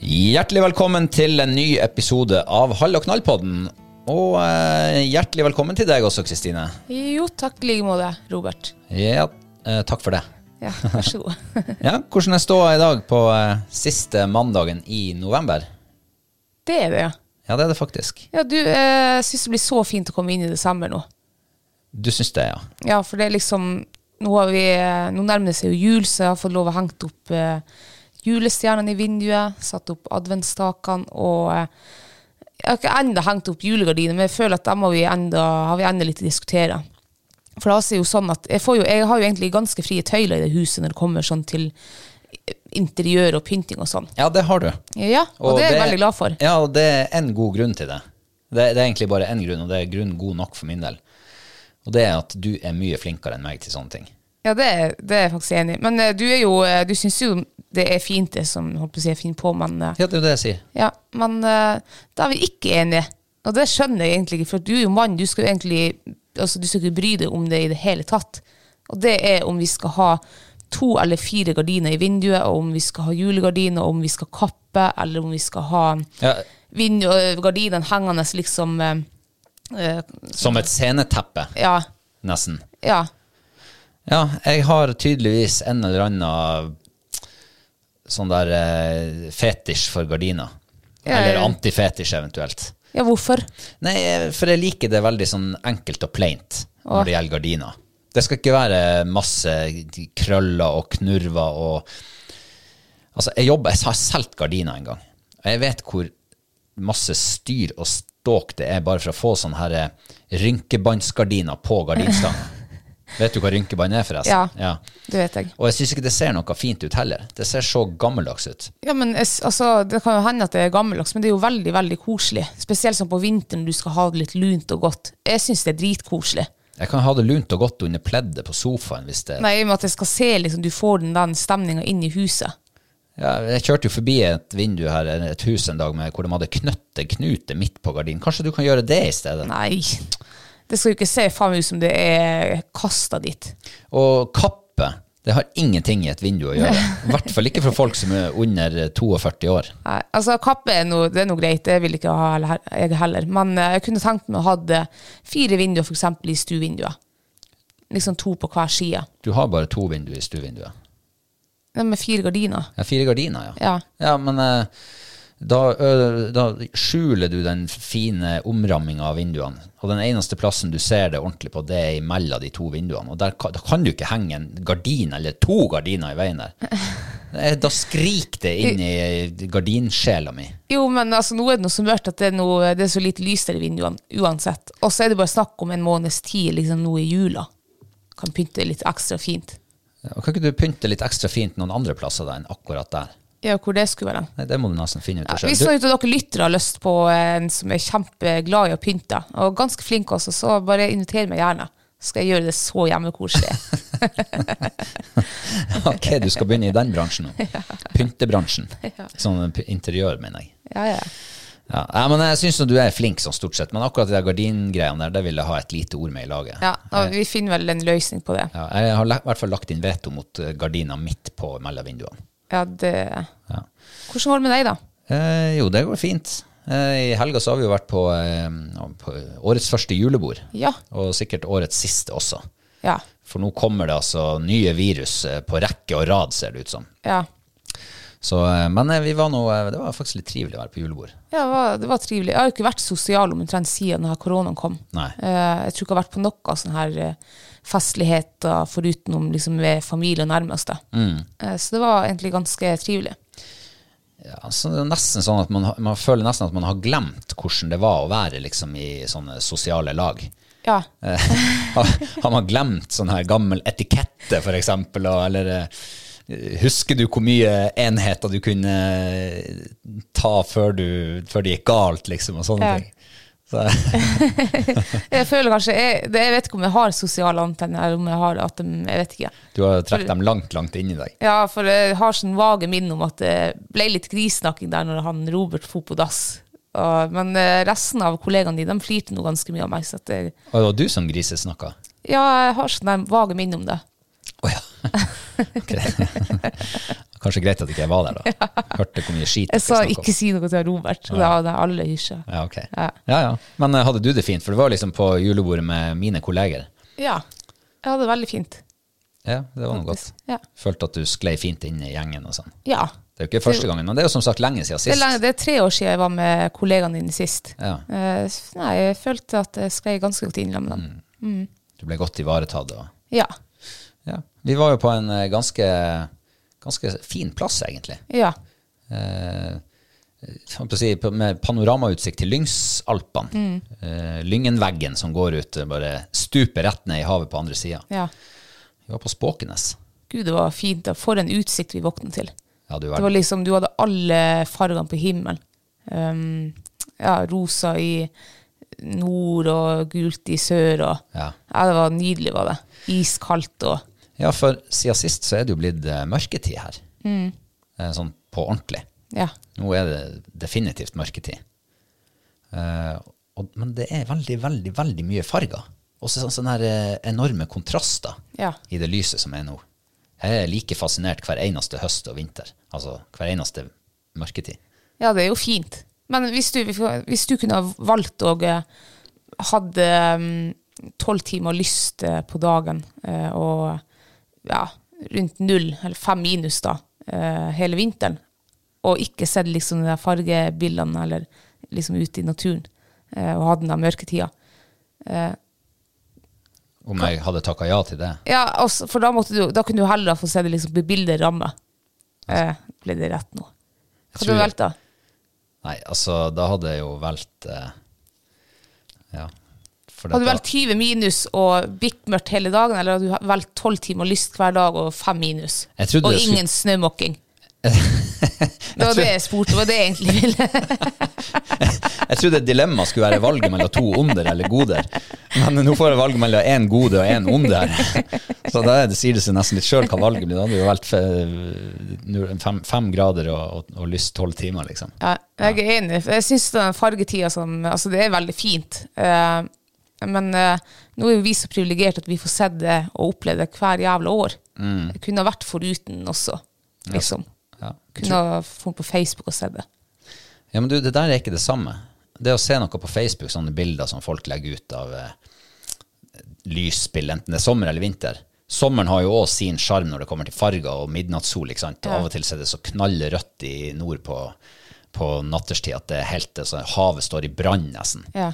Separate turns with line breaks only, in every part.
Hjertelig velkommen til en ny episode av Hall og knall-podden. Og eh, hjertelig velkommen til deg også, Kristine.
Jo, takk i like måte, Robert.
Ja, eh, takk for det.
Ja, vær så god.
Ja, Hvordan er ståa i dag på eh, siste mandagen i november?
Det er det, ja.
Ja, det er det faktisk.
Ja, du, jeg syns det blir så fint å komme inn i desember nå.
Du syns det, ja?
Ja, for det er liksom Nå, har vi, eh, nå nærmer det seg jo jul, så jeg har fått lov å hengt opp eh, julestjernene i vinduet, satt opp adventsstakene og eh, Jeg har ikke ennå hengt opp julegardiner, men jeg føler at dem har vi enda, har vi enda litt å diskutere. For da er jo sånn at jeg, får jo, jeg har jo egentlig ganske frie tøyler i det huset når det kommer sånn til eh, interiør og pynting og sånn.
Ja, det har du. Og
Ja, og, det er jeg veldig glad for.
Ja, og det er en god grunn til det. Det, det er egentlig bare én grunn, og det er grunn god nok for min del. Og det er at du er mye flinkere enn meg til sånne ting.
Ja, det, er- det er jeg faktisk enig i. Men eh, du, er jo, eh, du syns jo det er fint, det som holdt på å si er fint på, men, eh,
Ja, det er jo det jeg sier.
ja, men eh, da er vi ikke enige. Og det skjønner jeg egentlig ikke, for du er jo mann, du skal jo egentlig altså, du skal ikke bry deg om det i det hele tatt. Og det er om vi skal ha to eller fire gardiner i vinduet, og om vi skal ha julegardiner, og om vi skal kappe, eller om vi skal ha
Ja,
vindu- og gardinene hengende liksom eh, eh,
som et sceneteppe,
Ja.
nesten.
Ja.
Ja, jeg har tydeligvis en eller annen sånn der eh, fetisj for gardiner.
Ja,
Eller
ja.
antifetisj, eventuelt.
ja hvorfor?
Nei, eh, for jeg liker det veldig sånn enkelt og plaint
Åh.
når det gjelder gardiner. Det skal ikke være masse krøller og knurver og Altså, jeg jobber Jeg har solgt gardiner en gang. Og jeg vet hvor masse styr og ståk det er bare for å få sånne her eh, rynkebåndsgardiner på gardinstangen. vet du hva rynkebånd er, forresten?
Ja. Det vet jeg.
Og jeg syns ikke det ser noe fint ut heller. Det ser så gammeldags ut.
Ja, men jeg s- altså, Det kan jo hende at det er gammeldags, men det er jo veldig veldig koselig. Spesielt sånn på vinteren du skal ha det litt lunt og godt. Jeg syns det er dritkoselig.
Jeg kan ha det lunt og godt under pleddet på sofaen hvis det
Nei, i og med at jeg skal se liksom, du får den, den stemninga inn i huset.
Ja, jeg kjørte jo forbi et vindu her, et hus en dag med, hvor de hadde knøtt en knute midt på gardinen. Kanskje du kan gjøre det i stedet?
Nei. Det skal jo ikke se faen meg ut som det er kasta dit.
Og kappe, det har ingenting i et vindu å gjøre. I hvert fall ikke for folk som er under 42 år.
Nei, altså Kappe er noe, det er noe greit, det vil ikke ha heller- jeg heller. Men eh, jeg kunne tenkt meg å ha det fire vinduer for eksempel i stuevinduet. Liksom to på hver side.
Du har bare to vinduer i stuevinduet.
Nei, Med fire gardiner.
Ja, fire gardiner, ja.
Ja.
men eh, da, ø, da skjuler du den fine omramminga av vinduene. Og den eneste plassen du ser det ordentlig på, det er imellom de to vinduene. Og der kan, da kan du ikke henge en gardin eller to gardiner i veien der. Eh, Da skriker det inn i gardinsjela mi.
Jo, men altså, nå er det noe så mørkt at det er, noe, det er så lite lys der i vinduene uansett. Og så er det bare snakk om en måneds tid liksom nå i jula. Kan pynte litt ekstra fint.
Og kan ikke du pynte litt ekstra fint noen andre plasser da enn akkurat der?
Ja, hvor det skulle være.
Nei, det må du nesten finne ut
Ja,
av
hvis
sjøl.
noen av dere lyttere har lyst på en som er kjempeglad i å pynte, og ganske flink også, så bare inviter meg gjerne. Så skal jeg gjøre det så hjemmekoselig.
ok, du skal begynne i den bransjen nå. Pyntebransjen. Sånn p- interiør, mener jeg.
Ja, ja.
Ja, ja, men jeg syns du er flink sånn stort sett, men akkurat de der gardingreiene der, det vil jeg ha et lite ord med i laget.
ja og vi finner vel en løsning på det.
Ja, jeg har le- i hvert fall lagt inn veto mot eh, gardina midt på mellom vinduene.
Ja, det... Hvordan går det med deg, da?
Eh, jo, det går fint. Eh, I helga så har vi jo vært på, eh, på årets første julebord,
Ja.
og sikkert årets siste også.
Ja.
For nå kommer det altså nye virus eh, på rekke og rad, ser det ut som.
ja.
Så, eh, men eh, vi var nå, eh, det var faktisk litt trivelig å være på julebord.
ja det, var, det var trivelig. Jeg har jo ikke vært sosial omtrent siden denne koronaen kom.
Nei.
Eh, Jeg tror ikke jeg har vært på noen sånne her eh, festligheter forutenom liksom med familie og nærmeste. Eh, Så det var egentlig ganske trivelig.
Ja, så det er nesten sånn at man, har- man føler nesten at man har glemt hvordan det var å være liksom, i sånne sosiale lag.
Ja.
Eh, har, har man glemt sånn her gammel etikette, for eksempel, og, eller eh, husker du hvor mye enheter du kunne eh, ta før, du, før det gikk galt, liksom, og sånne
Ja.
ting. Så,
Jeg føler kanskje jeg, det, jeg vet ikke om jeg har sosiale antenner, eller om jeg har at de, jeg vet ikke.
du har trukket dem langt, langt inn i deg.
Ja, for jeg har sånn vage minne om at det ble litt grisnakking der når han Robert for på dass. Og, men eh, resten av kollegaene dine, de flirte nå ganske mye av meg, så at jeg,
Og det var du som grisesnakka?
ja, jeg har sånn der vage minne om det.
Å ja. Ok. Kanskje greit at ikke jeg var der, da. Hørte hvor mye skit
Jeg sa
dere snakket om.
ikke si noe til Robert, og da hadde alle hysja.
Ja, ok.
Ja.
Ja. Ja, Men eh, hadde du det fint? For det var liksom på julebordet med mine kolleger.
Ja, jeg hadde det veldig fint.
Ja, det var noe godt.
Ja.
Følte at du sklei fint inn i gjengen og sånn.
ja.
Det er jo ikke første gangen, men det er jo som sagt lenge siden
Det, er
sist.
lenge, det er tre år siden jeg var med kollegaene dine sist.
Ja,
Eh, s- nei, jeg følte at jeg sklei ganske godt inn med dem.
Mm. du ble godt ivaretatt. Og,
Ja.
ja. Vi var jo på en eh, ganske, ganske fin plass, egentlig.
ja.
Eh, jeg holdt på å si, på- med panoramautsikt til Lyngsalpene.
Mm.
Eh, Lyngenveggen som går ut, eh, bare stuper rett ned i havet på andre sida.
ja.
Vi var på Spåkenes.
Gud, det var fint. da. For en utsikt vi våkna til.
Ja, du
Det var
verden.
liksom, Du hadde alle fargene på himmelen. Um, ja, rosa i nord og gult i sør. Og,
Ja.
ja, Det var nydelig, var det. Iskaldt og
Ja, for siden sist så er det jo blitt eh, mørketid her.
Mm.
Eh, sånn på ordentlig.
Ja.
Nå er det definitivt mørketid. Eh, og, men det er veldig, veldig, veldig mye farger. Og så sånn- sånne her, eh, enorme kontraster
Ja.
i det lyset som er nå. Jeg er like fascinert hver eneste høst og vinter. Altså hver eneste mørketid.
Ja, det er jo fint. Men hvis du, hvis du kunne ha valgt og eh, hadde mm, tolv timer lyst eh, på dagen, eh, og ja, rundt null, eller fem minus da, eh, hele vinteren, og ikke sett liksom de der fargebildene eller liksom ute i naturen, eh, og hadde den der mørketida.
Om jeg hadde takka ja til det.
Ja, altså, for da, måtte du, da kunne du heller få se det liksom på bildet ramme. Eh, ble det rett nå? Hva hadde du
tror-
valgt da?
Nei, altså da hadde jeg jo valgt eh, Ja. For
Hadde du
dette-
valgt 20 minus og bikkmørkt hele dagen, eller hadde du valgt 12 timer lyst hver dag og 5 minus?
Jeg trodde
Og
det skulle-
ingen snømåking? Det
tror-
var det jeg spurte, det var det jeg egentlig ville.
Jeg trodde dilemmaet skulle være valget mellom to onder eller goder. Men nå får jeg valget mellom én gode og én onder. Så da er det, sier det seg nesten litt sjøl hva valget blir. Da hadde vi jo valgt fe- fem, fem grader og, og, og lyst tolv timer, liksom.
Ja, jeg er enig. for Jeg syns den fargetida som Altså, det er veldig fint. Eh, men eh, nå er jo vi så privilegerte at vi får sett det og oppleve det hver jævla år. Jeg kunne ha vært foruten også, liksom.
Mm. Ja.
Kunne ha funnet på Facebook og sett det.
ja, men du, det der er ikke det samme. Det å se noe på Facebook, sånne bilder som folk legger ut av eh, lysspill, enten det er sommer eller vinter. Sommeren har jo òg sin sjarm når det kommer til farger og midnattssol. ikke sant? Og Av og til så er det så knallrødt i nord på, på natterstid at det er helt, så havet står i brann nesten.
Ja.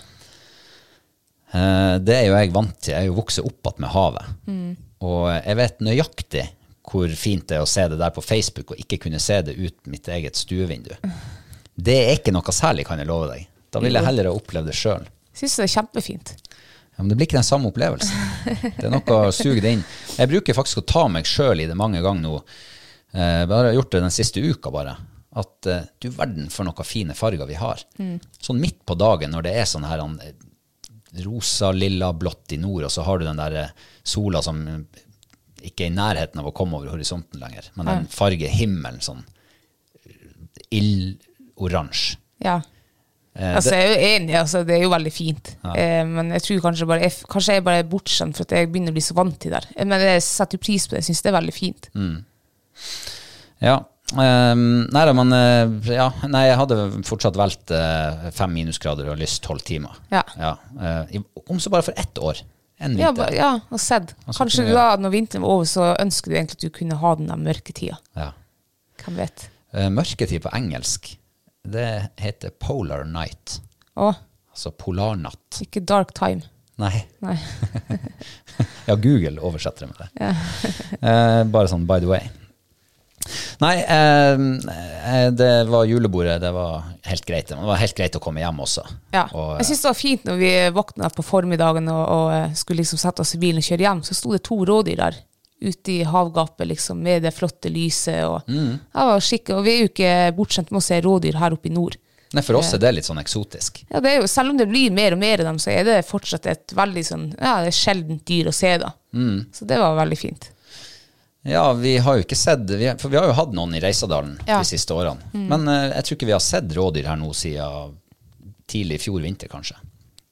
Eh, Det er jo jeg vant til. Jeg er jo vokst opp igjen med havet. Og jeg vet nøyaktig hvor fint det er å se det der på Facebook og ikke kunne se det ut mitt eget stuevindu. Det er ikke noe særlig, kan jeg love deg. Da vil jeg heller ha opplevd det sjøl.
Syns det er kjempefint.
Ja, men det blir ikke den samme opplevelsen. Det er noe å suge det inn. Jeg bruker faktisk å ta meg sjøl i det mange ganger nå. Eh, bare gjort det den siste uka, bare. At eh, du verden for noen fine farger vi har. Sånn midt på dagen når det er sånn her eh, rosa, lilla, blått i nord, og så har du den der eh, sola som eh, ikke er i nærheten av å komme over horisonten lenger, men den farger himmelen sånn eh, ildoransje.
Ja. Altså, jeg er jo enig, altså, det er jo veldig fint. Eh, men jeg tror kanskje bare jeg, f- Kanskje jeg bare er bortskjemt for at jeg begynner å bli så vant til det. her. Eh, Men jeg setter jo pris på det, jeg syns det er veldig fint.
Ja. ehm, nei da, men eh, ja, nei, jeg hadde fortsatt valgt eh, fem minusgrader og lyst tolv timer.
Ja.
eh, i- om så bare for ett år. En
Ja,
vinter.
bare, ja, og sett. Kanskje
kunne
du
jeg-
da, når vinteren var over, så ønsker du egentlig at du kunne ha den der mørketida.
Ja.
Hvem vet.
Eh, mørketid på engelsk, det heter polar night.
Å,
Altså polarnatt.
ikke dark time.
Nei.
Nei.
Ja, Google oversetter det med det. eh, bare sånn by the way. Nei, eh, eh, det var julebordet. Det var helt greit. Det var helt greit å komme hjem også.
Ja.
Og,
jeg syns det var fint når vi våkna på formiddagen og, og eh, skulle liksom sette oss i bilen og kjøre hjem, så sto det to rådyr der ute i havgapet liksom, med det flotte lyset. Og, det var skikkelig, og vi er jo ikke bortskjemt med å se rådyr her oppe i nord.
Nei, for oss er det litt sånn eksotisk.
Ja, det er jo, selv om det blir mer og mer av dem, så er det fortsatt et veldig sånn, ja, det er sjeldent dyr å se. da. Så det var veldig fint.
Ja, vi har jo ikke sett vi, For vi har jo hatt noen i Reisadalen
Ja. Mm.
de siste årene. Men eh, jeg tror ikke vi har sett rådyr her nå siden tidlig i fjor vinter, kanskje.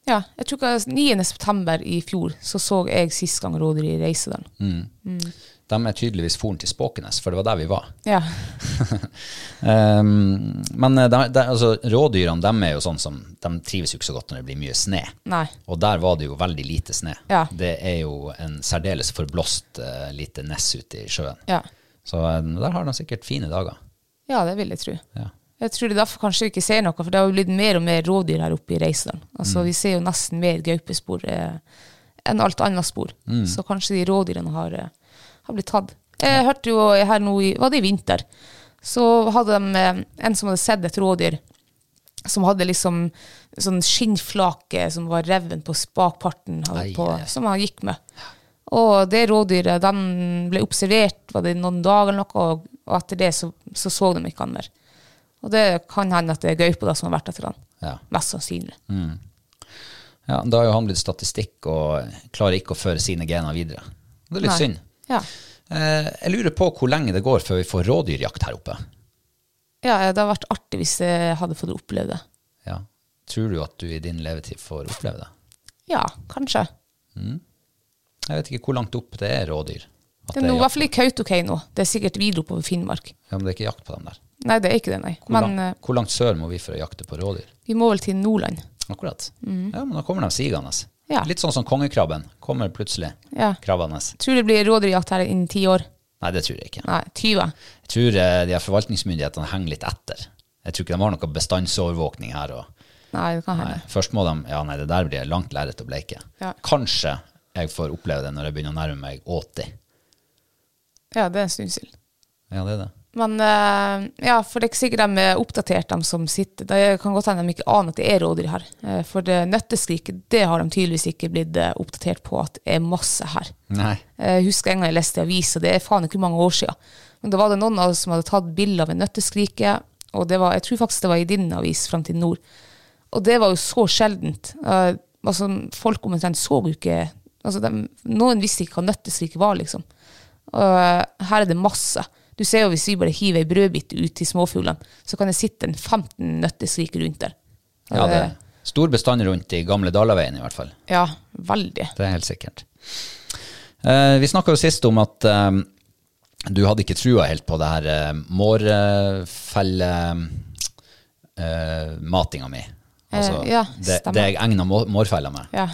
Ja, jeg tror ikke 9. september i fjor så så jeg sist gang rådyr i Reisedalen.
De er tydeligvis foren til Spåkenes, for det var der vi var.
Ja.
Ehm, men eh, der- der- altså, rådyrene de er jo sånn som De trives jo ikke så godt når det blir mye snø.
Nei.
Og der var det jo veldig lite snø.
Ja.
Det er jo en særdeles forblåst eh, lite ness ute i sjøen.
Ja.
Så eh, der har de sikkert fine dager.
ja, det vil jeg tro.
Ja.
Jeg tror det er derfor kanskje vi ikke ser noe, for det har jo blitt mer og mer rådyr her oppe i Reisedalen. Altså, Vi ser jo nesten mer gaupespor eh, enn alt annet spor. Så kanskje de rådyrene har, eh, har blitt tatt. Jeg hørte jo her nå, i, var det i vinter, så hadde de eh, en som hadde sett et rådyr som hadde liksom sånn skinnflake som var reven på spakparten, hadde
Ai,
på,
ai, ai.
som han gikk med. Og det rådyret, de ble observert var det noen dager eller noe, og, og etter det så så, så de ikke han mer. Og det kan hende at det er gaupa da som har vært etter han.
Ja.
Mest sannsynlig.
Mm. Ja, Da har jo han blitt statistikk og klarer ikke å føre sine gener videre. Det er litt
Nei.
synd.
Ja.
Eh, jeg lurer på hvor lenge det går før vi får rådyrjakt her oppe.
ja, det hadde vært artig hvis jeg hadde fått oppleve det.
Ja. Tror du at du i din levetid får oppleve det?
Ja, kanskje.
Jeg vet ikke hvor langt opp det er rådyr. At
Det er nå, i hvert
jakt.
fall i Kautokeino. Det er sikkert videre oppover Finnmark.
Ja, men det er ikke jakt på dem der.
Nei, det er ikke det, nei.
Hvor,
Men eh,
langt, hvor langt sør må vi for å jakte på rådyr?
vi må vel til Nordland.
Akkurat. Ja, men da kommer de sigende.
Mhm. Ja.
Litt sånn som kongekrabben. Kommer plutselig
Ja.
krabbende.
Tror det blir rådyrjakt her innen ti år.
Nei, det tror jeg ikke.
Nei, 20.
Jeg tror eh, de her forvaltningsmyndighetene henger litt etter. Jeg tror ikke de har noe bestandsovervåkning her. og...
Nei, det kan
Nei,
hende.
først må de Ja, nei, det der blir langt lerret å bleike.
Ja.
Kanskje jeg får oppleve det når jeg begynner å nærme meg 80.
Ja, det er en stund siden.
Ja, det er det.
Men eh, ja, for det er ikke sikkert de er oppdatert, de som sitter. Det kan godt hende de ikke aner at det er rådyr her. Eh, For det nøtteskriket, det har de tydeligvis ikke blitt eh, oppdatert på at det er masse her.
Nei.
Jeg Eh, husker en gang jeg leste i avisa, det er faen ikke mange år siden. Men da var det noen av oss som hadde tatt bilder av en nøtteskrike, og det var, jeg tror faktisk det var i din avis, Fremtid Nord. Og det var jo så sjeldent. Eh, altså, folk omtrent så jo ikke altså, dem- Noen visste ikke hva nøtteskrike var, liksom. Og eh, her er det masse. Du ser jo hvis vi bare hiver ei brødbit ut til småfuglene, så kan det sitte en 15 nøtteskriker rundt der. Eh,
Ja, det er stor bestand rundt i gamle Dalaveien, i hvert fall.
Ja, veldig.
Det er helt sikkert. Eh, vi snakka jo sist om at eh, du hadde ikke trua helt på det her eh, mårfellematinga eh, mi. Altså
Eh, ja,
det,
stemmer.
det jeg egna må- mårfella med.
Ja.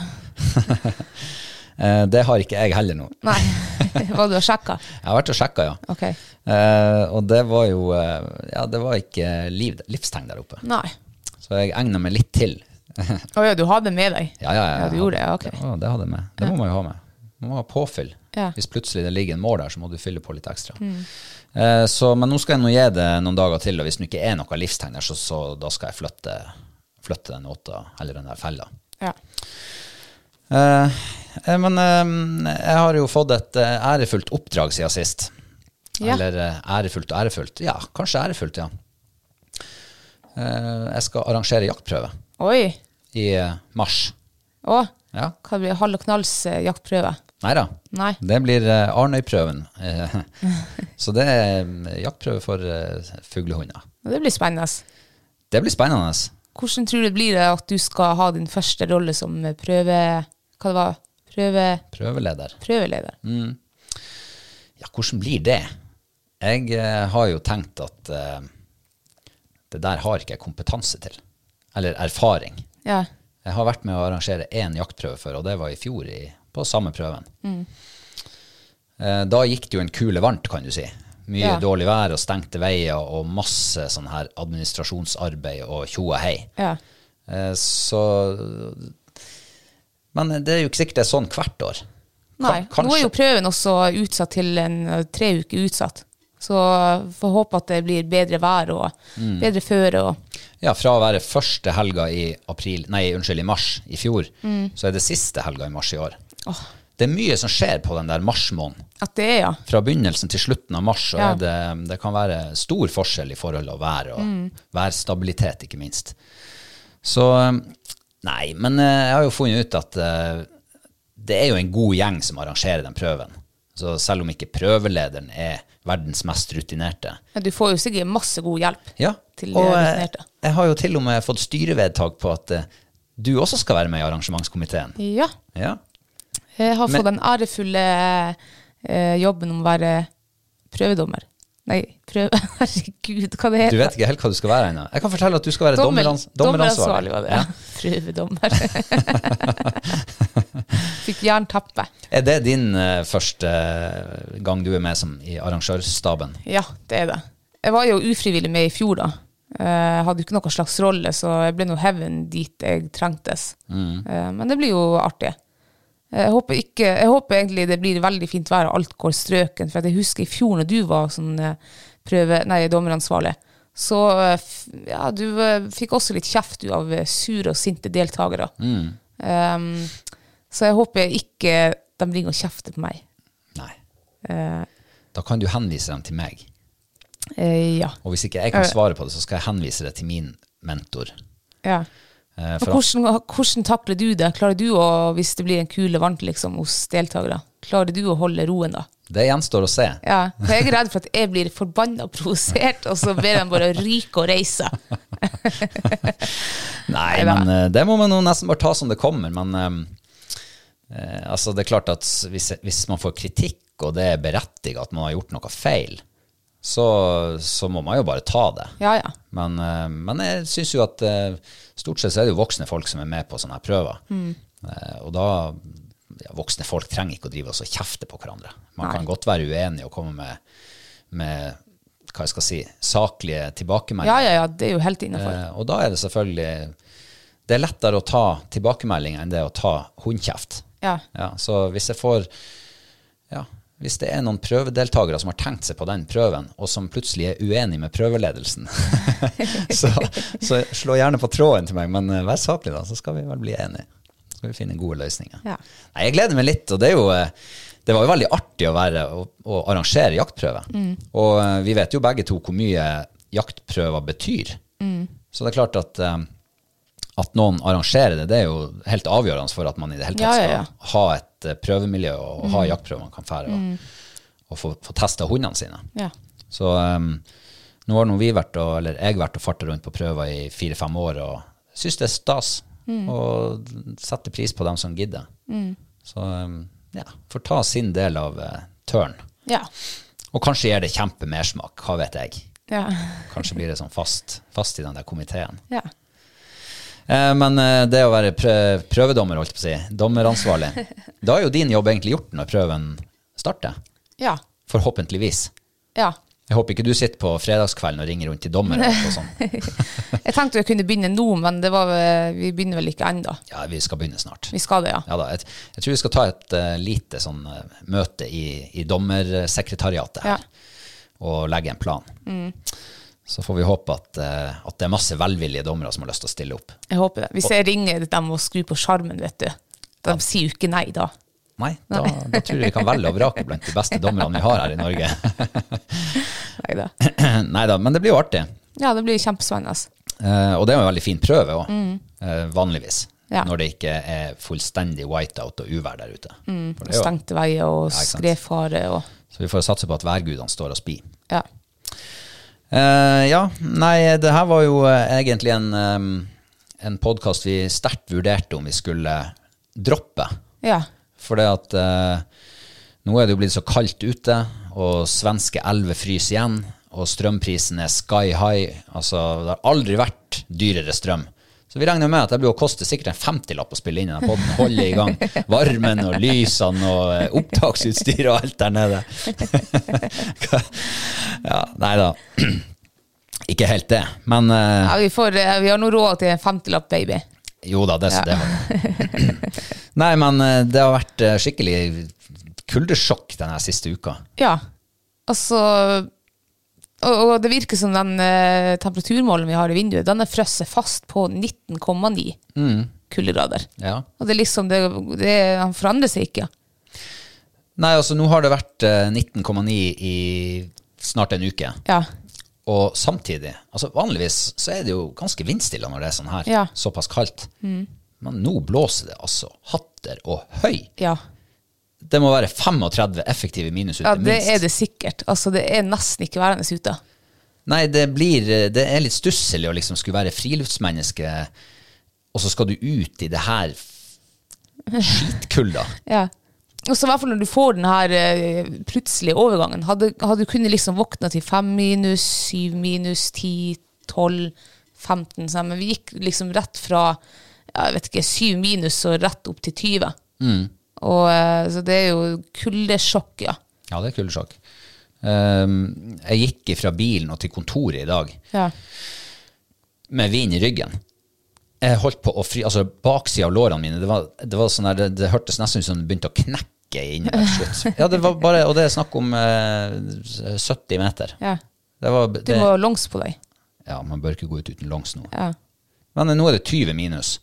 Eh, det har ikke jeg heller nå.
Nei, hva du har sjekka?
Jeg har vært og sjekka, ja.
Ok.
Eh, og det var jo eh, Ja, det var ikke liv, livstegn der oppe.
Nei.
Så jeg egna meg litt til.
Å ja, du har det med deg?
Ja, ja, ja.
du gjorde det, ja, ok.
Ja, det hadde jeg med. Det må man jo ha med. Man må ha påfyll.
Ja. Mm.
Hvis plutselig det ligger en mål der, så må du fylle på litt ekstra. Eh, så, men nå skal jeg nå gi det noen dager til, og hvis det ikke er noe livstegn der, så, så da skal jeg flytte, flytte den åta, eller den der fella.
Ja.
Eh, eh, men eh, jeg har jo fått et eh, ærefullt oppdrag siden sist.
Ja.
Eller eh, ærefullt og ærefullt. Ja, kanskje ærefullt, ja. Eh, jeg skal arrangere jaktprøve
Oi.
i eh, mars.
Å,
Ja.
hva blir det? halv og knalls eh, jaktprøve?
Nei da.
Nei.
Det blir eh, Arnøyprøven. Eh, Så det er eh, jaktprøve for eh, fuglehunder.
Det blir spennende.
Det blir spennende.
Hvordan tror du det blir eh, at du skal ha din første rolle som eh, prøve... Hva det var? Prøve...
Prøveleder.
Prøveleder.
Ja, hvordan blir det? Jeg eh, har jo tenkt at eh, det der har ikke jeg kompetanse til. Eller erfaring.
Ja.
Jeg har vært med å arrangere én jaktprøve før, og det var i fjor i, på samme prøven.
Mm.
Eh, Da gikk det jo en kule varmt, kan du si. Mye
Ja.
dårlig vær og stengte veier og masse sånn her administrasjonsarbeid og tjo og hei.
Ja.
Eh, Så Men det er jo ikke sikkert det er sånn hvert år.
Nei.
Kan-
Nå er jo
kanskje-
prøven også utsatt til en, eh, tre uker utsatt. Så eh, får håpe at det blir bedre vær og bedre føre og
Ja, fra å være første helga i april, nei, unnskyld, i mars i fjor, så er det siste helga i mars i år.
Mm. Åh.
Det er mye som skjer på den der marsmåneden.
At det er, ja.
Fra begynnelsen til slutten av mars så
Ja.
er det, det kan være stor forskjell i forhold til vær og
Mm.
værstabilitet, ikke minst. Så Nei, men eh, jeg har jo funnet ut at eh, det er jo en god gjeng som arrangerer den prøven. Så selv om ikke prøvelederen er verdens mest rutinerte,
Men du får jo sikkert masse god hjelp.
ja,
til
og eh,
de rutinerte.
jeg har jo til og med fått styrevedtak på at eh, du også skal være med i arrangementskomiteen.
Ja.
Ja,
Jeg Eh, har
Men-
fått den ærefulle eh, jobben om å være prøvedommer. Nei, prøve... Herregud, hva det
Du
heter
vet ikke helt hva du skal være ennå. Jeg kan fortelle at du skal være
Dommer-
dommerans dommeransvarlig.
var det.
Ja.
Prøvedommer. Fikk jerntappe.
Er det din eh, første eh, gang du er med som i arrangørstaben?
Ja, det er det. Jeg var jo ufrivillig med i fjor, da. Eh, Jeg hadde jo ikke noen slags rolle, så jeg ble nå heaven dit jeg trengtes. Eh, Men det blir jo artig. Jeg håper, ikke, jeg håper egentlig det blir veldig fint vær og alt går strøken. For at jeg husker i fjor når du var sånn eh, prøve, nei, dommeransvarlig, så eh, f- ja, du eh, fikk også litt kjeft du, av eh, sure og sinte deltakere. Um, så jeg håper ikke de ringer og kjefter på meg.
Nei. Da kan du henvise dem til meg.
Eh, ja.
Og hvis ikke jeg kan svare på det, så skal jeg henvise det til min mentor.
ja.
Eh,
Men
For han-
hvordan, hvordan takler du det? Klarer du å, hvis det blir en kule varmt liksom, hos deltakere, klarer du å holde roen da?
det gjenstår å se.
Ja, for jeg er redd for at jeg blir forbanna og provosert, og så ber de bare ryke og reise.
Nei,
Neida.
men eh, det må man jo nesten bare ta som det kommer. Men eh, eh, altså, det er klart at hvis, hvis man får kritikk, og det er berettiget at man har gjort noe feil, så, så må man jo bare ta det.
Ja, ja.
Men, eh, men jeg syns jo at eh, stort sett så er det jo voksne folk som er med på sånne her prøver.
Mm.
Eh, og da ja, Voksne folk trenger ikke å drive og så kjefte på hverandre. Man kan godt være uenig og komme med, med hva jeg skal si, saklige tilbakemeldinger.
Ja, ja, ja, det er jo helt innafor.
Eh, og da er det selvfølgelig Det er lettere å ta tilbakemeldinger enn det å ta hundkjeft.
Ja.
Ja, så hvis jeg får Ja, hvis det er noen prøvedeltakere som har tenkt seg på den prøven, og som plutselig er uenig med prøveledelsen, så, så slå gjerne på tråden til meg, men eh, vær saklig, da, så skal vi vel bli enige. Så skal vi finne gode løsninger.
Ja.
Nei, jeg gleder meg litt, og det er jo eh, det var jo veldig artig å, være, å, å arrangere jaktprøve.
Mm.
Og eh, vi vet jo begge to hvor mye jaktprøver betyr.
Mm.
Så det er klart at, eh, at noen arrangerer det, det er jo helt avgjørende for at man i det hele
Ja,
tatt
ja,
skal
ja. Mm.
ha et eh, prøvemiljø og, og ha jaktprøver man kan fære og, og få, få testa hundene sine.
Ja.
Så ehm, nå har nå vi vært og, eller jeg vært og farta rundt på prøver i fire-fem år og syns det er stas. Og setter pris på dem som gidder. Så ehm, ja, får ta sin del av uh, tørn.
Ja.
Og kanskje gir det kjempemersmak, hva vet jeg.
Ja.
Kanskje blir det sånn fast, fast i den der komiteen.
ja.
Eh, men eh, det å være prø prøvedommer, holdt jeg på å si, dommeransvarlig, da er jo din jobb egentlig gjort når prøven starter.
ja.
Forhåpentligvis.
ja.
Jeg håper ikke du sitter på fredagskvelden og ringer rundt til dommere. og sånn.
Jeg tenkte vi kunne begynne nå, men det var, vel- vi begynner vel ikke ennå.
Ja, vi skal begynne snart.
Vi skal det, ja.
Ja da, jeg, jeg tror vi skal ta et eh, lite sånn eh, møte i, i dommersekretariatet her,
Ja. Mm.
og legge en plan. Så får vi håpe at, eh, at det er masse velvillige dommere som har lyst til å stille opp.
Jeg håper det. Hvis jeg ringer dem og skrur på sjarmen, vet du. De sier jo ikke nei da.
Nei, da, da tror jeg vi kan velge og vrake blant de beste dommerne vi har her i Norge.
Neida.
Nei da, men det blir jo artig.
Ja, det blir kjempespennende.
Eh, og det er jo en veldig fin prøve òg, vanligvis.
Mm. Ja.
Når det ikke er fullstendig whiteout og uvær der ute.
Mm,
For det er jo-
Stengte veier og
ikke sant.
skredfare og
Så vi får satse på at værgudene står og spir.
Ja.
Eh, ja, nei, det her var jo eh, egentlig en, eh, en podkast vi sterkt vurderte om vi skulle droppe.
ja.
For det at eh, nå er det jo blitt så kaldt ute, og svenske elver fryser igjen, og strømprisen er sky high. Altså, det har aldri vært dyrere strøm. Så vi regner med at det blir å koste sikkert en 50-lapp å spille inn i denne podden, holde i gang varmen og lysene og eh, opptaksutstyr og alt der nede. Hva- ja, nei da. Ikke helt det, men eh,
ja vi, får, eh, vi har nå råd til en 50-lapp, baby.
jo da, det, det har vi. Nei, men eh, det har vært eh, skikkelig kuldesjokk denne siste uka.
Ja. Altså og, og det virker som den eh, temperaturmålen vi har i vinduet, den er frosset fast på 19,9
Mm.
kuldegrader.
Ja.
Og det er liksom det, det, Han forandrer seg ikke.
Nei, altså nå har det vært eh, 19,9 i snart en uke.
Ja.
Og samtidig, altså vanligvis så er det jo ganske vindstille når det er sånn her,
Ja. Mm.
såpass kaldt. Men nå blåser det altså hatter og høy.
Ja.
Det må være 35 effektive minus ute,
ja, det
minst.
er det sikkert. Altså, det er nesten ikke værende ute.
Nei, det, blir, eh, det er litt stusselig å liksom skulle være friluftsmenneske, og så skal du ut i det her skitkulda.
Ja. Og så i hvert fall når du får den her eh, plutselige overgangen. Hadde, hadde du kunnet liksom våkna til fem minus, syv minus, ti, tolv, 15 sånn, Men vi gikk liksom rett fra ja, jeg vet ikke, syv minus og rett opp til 20. Og, eh, så det er jo kuldesjokk, ja.
Ja, det er kuldesjokk. Ehm, jeg gikk fra bilen og til kontoret i dag
Ja.
med vin i ryggen. Jeg holdt på å fry, altså baksida av lårene mine, det, var, det, var sånn der, det, det hørtes nesten ut som det begynte å knekke inni der til slutt. Ja, det var bare, og det er snakk om eh, 70 meter.
Ja.
Det var,
Du
det,
må ha longs på deg.
ja, man bør ikke gå ut uten langs nå.
Ja.
Men eh, nå er det 20 minus.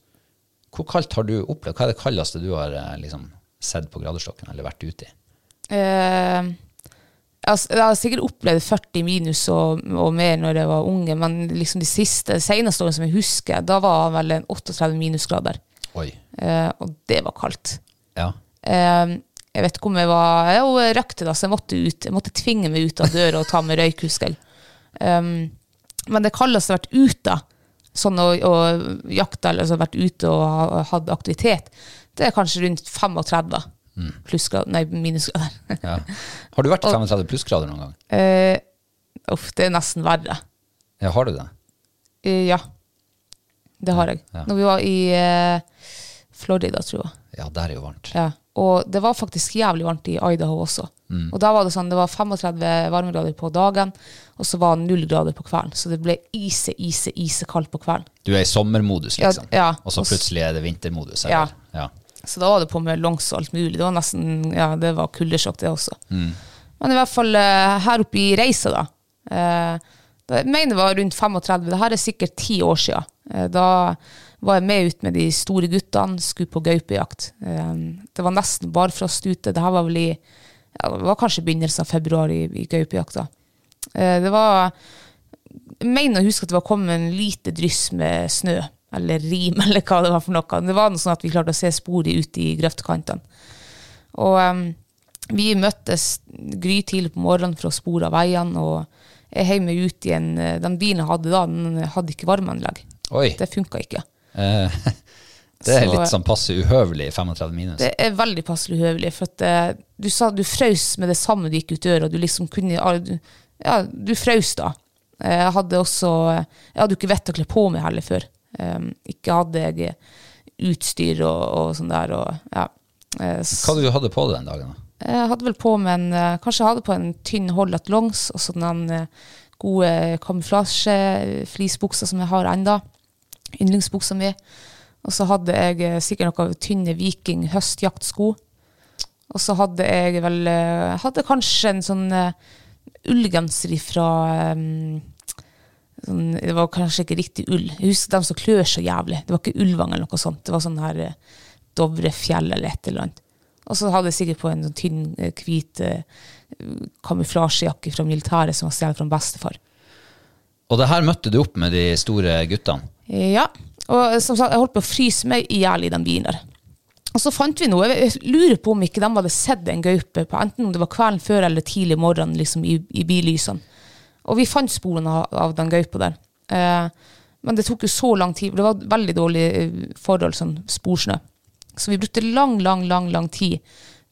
Hvor kaldt har du opplevd? Hva er det kaldeste du har eh, liksom, sett på gradestokken eller vært ute i?
Eh, jeg har s- jeg har sikkert opplevd 40 minus og, og mer når jeg var unge, men liksom de siste, seneste årene som jeg husker, da var vel en 38 minusgrader.
Oi.
Eh, og det var kaldt.
Ja.
Eh, jeg vet ikke om jeg var Jeg jo røykte, da, så jeg måtte, ut, jeg måtte tvinge meg ut av døra og ta med røykhuskel. Um, men det kaldeste jeg har vært ute, sånn å, å jakte eller altså vært ute og ha- hatt aktivitet, det er kanskje rundt 35 plussgrader, nei, minusgrader.
ja. Har du vært i 35 plussgrader noen gang?
Eh, uff, det er nesten verre.
Ja, har du det?
Eh, ja. Det har jeg.
Ja.
Når vi var i eh, Florida, tror jeg.
Ja, der er jo varmt.
Ja. Og det var faktisk jævlig varmt i Idaho også.
Mm.
Og da var det sånn, det var 35 varmegrader på dagen, og så var det null grader på kvelden. Så det ble ise, ise, isekaldt på kvelden.
Du er i sommermodus,
Ja,
liksom.
ja.
Og så
Og s-
plutselig er det vintermodus. eller? Ja.
Så da var det på med longs og alt mulig. Det var nesten, ja, det var kuldesjokk det også. Men i hvert fall eh, her oppe i reisa da, eh, da- jeg mener det var rundt 35, det her er sikkert 10 år siden. Eh, da var jeg med ut med de store guttene, skulle på gaupejakt. Eh, det var nesten barfrost ute, det her var vel i, ja, det var kanskje begynnelsen av februar i, i gaupejakta. Eh, det var, jeg mener å huske at det var kommet en lite dryss med snø, eller rim, eller hva det var for noe. Det var noe sånn at vi klarte å se sporet ute i grøftkantene. Og em, vi møttes grytidlig på morgenen for å spore av veiene, og jeg heiv meg ut i en eh, Den bilen jeg hadde da, den hadde ikke varmeanlegg.
Oi.
Det funka ikke.
Eh, det er
Så-
litt sånn passe uhøvelig i 35 minus.
Det er veldig passelig høvelig, for at eh, du sa du frøs med det samme du gikk ut døra, og du liksom kunne ja, du- Ja, du frøs da. Eh, Jeg hadde også Jeg hadde jo ikke vett å kle på meg heller før. Em, Ikke hadde jeg utstyr og, og sånn der, og ja. Eh, s-
Hva hadde du hadde på deg den dagen? da?
Jeg hadde vel på meg en eh, Kanskje jeg hadde på en tynn holdet longs og sånn den eh, gode kamuflasjeflisbuksa som jeg har enda. Yndlingsbuksa mi. Og så hadde jeg eh, sikkert noen tynne Viking høstjaktsko. Og så hadde jeg vel eh, Hadde kanskje en sånn eh, ullgenser ifra eh, sånn, Det var kanskje ikke riktig ull. Jeg husker dem som klør så jævlig. Det var ikke ullvang eller noe sånt. Det var sånn her eh, Dovrefjell eller et eller annet. Og så hadde jeg sikkert på en sånn tynn, eh, hvit eh, kamuflasjejakke fra militæret som var stjålet fra bestefar.
Og det her møtte du opp med de store guttene.
Ja, og som sagt, jeg holdt på å fryse meg i hjel i den bilen der. Og så fant vi noe, jeg lurer på om ikke de hadde sett en gaupe, på, enten om det var kvelden før eller tidlig morgen liksom, i, i billysene. Og vi fant sporene av, av den gaupa der. Eh, men det tok jo så lang tid, for det var veldig dårlig eh, forhold, sånn sporsnø. Så vi brukte lang, lang, lang, lang tid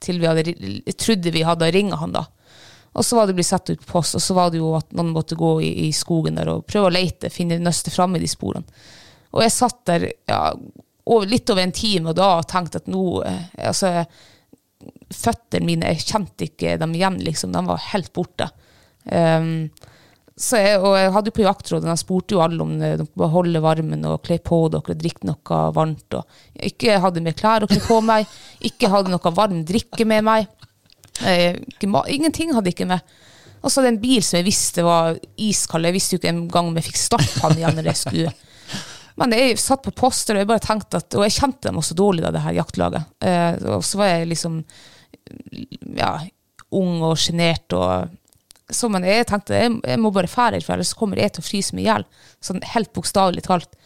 til vi hadde, ri- trodde vi hadde ringet han da. Og så var det blitt satt ut på post, og så var det jo at noen måtte gå i, i skogen der og prøve å leite, finne nøste fram i de sporene. Og jeg satt der ja, over, litt over en time og da og tenkte at nå eh, altså, Føttene mine, jeg kjente ikke dem igjen, liksom. De var helt borte. Ehm, så jeg, og jeg hadde jo på jaktrådet, jeg spurte jo alle om eh, de bare holde varmen og kle på dere og drikke noe varmt. Og jeg ikke hadde mer klær å kle på meg, ikke hadde noe varm drikke med meg. Eh, ikke ma- Ingenting hadde jeg ikke med. Og så hadde jeg en bil som jeg visste var iskald. Jeg visste jo ikke engang om jeg fikk starte han igjen når jeg skulle. Men jeg satt på poster, og jeg bare tenkte at, og jeg kjente dem også dårlig da, det her jaktlaget. Eh, og så var jeg liksom ja, ung og sjenert. og- Så men jeg tenkte jeg, jeg må bare fære herfra, ellers kommer jeg til å fryse meg i hjel. Sånn helt bokstavelig talt.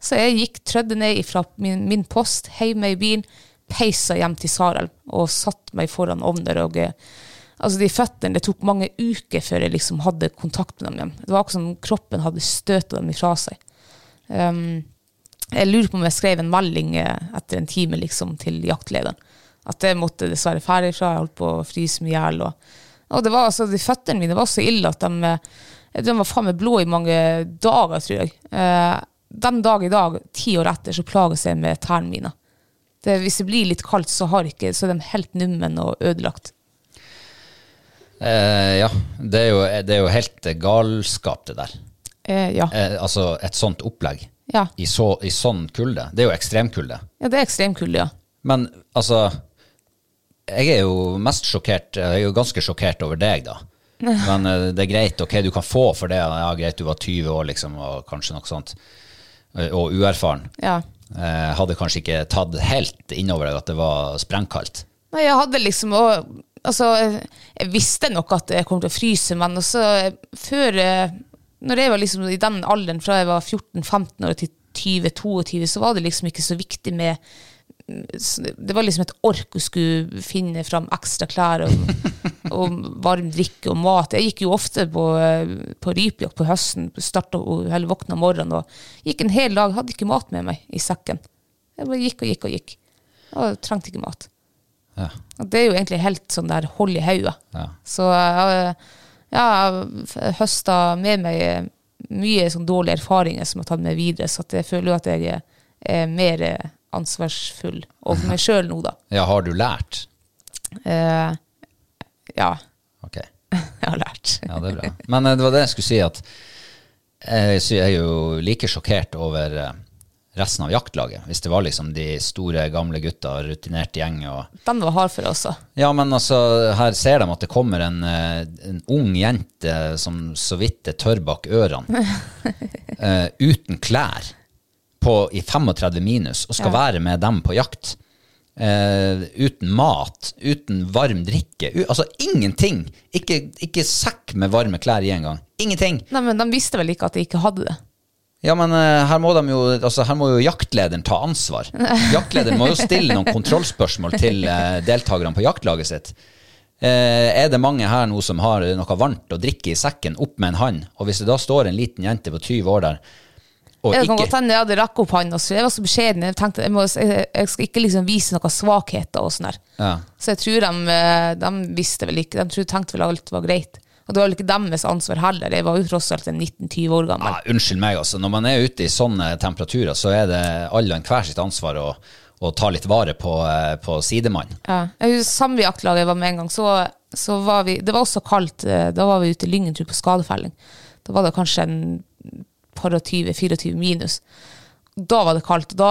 Så jeg gikk trødde ned fra min, min post, heiv meg i bilen, peisa hjem til Sarelv og satte meg foran ovnen der. Og, eh, altså de føttene, Det tok mange uker før jeg liksom hadde kontakt med dem igjen. Det var akkurat som kroppen hadde støta dem ifra seg. Um, jeg lurer på om jeg skrev en melding eh, etter en time liksom, til jaktlederen. At jeg måtte dessverre ferdig fra, jeg holdt på å fryse meg i hjel. Og, og det var, altså, de føttene mine var så ille at de, eh, de var faen meg blå i mange dager, tror jeg. Eh, den dag i dag, ti år etter, så plages jeg med tærne mine. Det, hvis det blir litt kaldt, så, har ikke, så er de helt nummen og ødelagt.
Eh, ja, det er, jo, det er jo helt galskap, det der.
Eh, ja.
Eh, altså et sånt opplegg
Ja.
i, så, i sånn kulde. Det er jo ekstremkulde.
ja, det er ekstremkulde, ja.
Men altså Jeg er jo mest sjokkert Jeg er jo ganske sjokkert over deg, da. Men eh, det er greit. Ok, du kan få for det. Ja, greit, du var 20 år, liksom, og kanskje noe sånt. Eh, Og uerfaren.
ja.
Eh, hadde kanskje ikke tatt helt innover deg at det var sprengkaldt.
Nei, jeg hadde liksom og, Altså, jeg- jeg visste nok at jeg kom til å fryse, men også før eh, Når jeg var liksom i den alderen, fra jeg var 14-15 år til 20-22, så var det liksom ikke så viktig med så det det var liksom et ork å skulle finne fram ekstra klær og, og varm drikke og mat. Jeg gikk jo ofte på, eh, på rypejakt på høsten, starta og hele våkna om morgenen og gikk en hel dag, hadde ikke mat med meg i sekken. Jeg bare gikk og gikk og gikk. Og trengte ikke mat.
Ja.
Og det er jo egentlig helt sånn der hold i hodet.
Ja.
Så eh, ja, jeg høsta med meg eh, mye sånn dårlige erfaringer som jeg har tatt med videre, så at jeg føler jo at jeg er- er mer eh, ansvarsfull overfor meg sjøl nå, da.
Ja, har du lært?
Eh, ja,
Ok.
jeg har lært.
Ja, det er bra. Men eh, det var det jeg skulle si, at eh, jeg sy- jeg er jo like sjokkert over eh, resten av jaktlaget. Hvis det var liksom de store, gamle gutta, rutinert gjeng og
Den var hard for deg også.
Ja, men altså, her ser de at det kommer en, eh, en ung jente som så vidt er tørr bak ørene, eh, uten klær, på, i 35 minus, og skal være med dem på jakt. Eh, uten mat, uten varm drikke. U altså ingenting! Ikke, ikke sekk med varme klær i engang. Ingenting!
Nei, men de visste vel ikke at jeg ikke hadde det.
Ja, men eh, her må, de jo, altså, her må jo jaktlederen ta ansvar. Jaktlederen må jo stille noen kontrollspørsmål til eh, deltakerne på jaktlaget sitt. Eh, er det mange her nå som har noe varmt å drikke i sekken, opp med en hand? Og hvis det da står en liten jente på 20 år der og
Jeg kan godt
ikke
hende jeg hadde rakk opp hånda, så jeg var så beskjeden. Jeg tenkte jeg, må, jeg, jeg skal ikke liksom vise noen svakheter og sånn der.
ja,
Så jeg tror de, eh, de visste vel ikke, de tror, tenkte vel alt var greit. Og det var vel ikke deres ansvar heller, jeg var jo tross alt en 19-20 år gammel.
ah, Unnskyld meg, altså. Når man er ute i sånne temperaturer, så er det alle og enhver sitt ansvar å, å ta litt vare på, eh, på sidemann.
Ja. Jeg husker samme jaktlag jeg var med en gang, så, så var vi, det var også kaldt, eh, da var vi ute i Lyngentur på skadefelling. Da var det kanskje en par og 20-24 minus. Da var det kaldt, og da,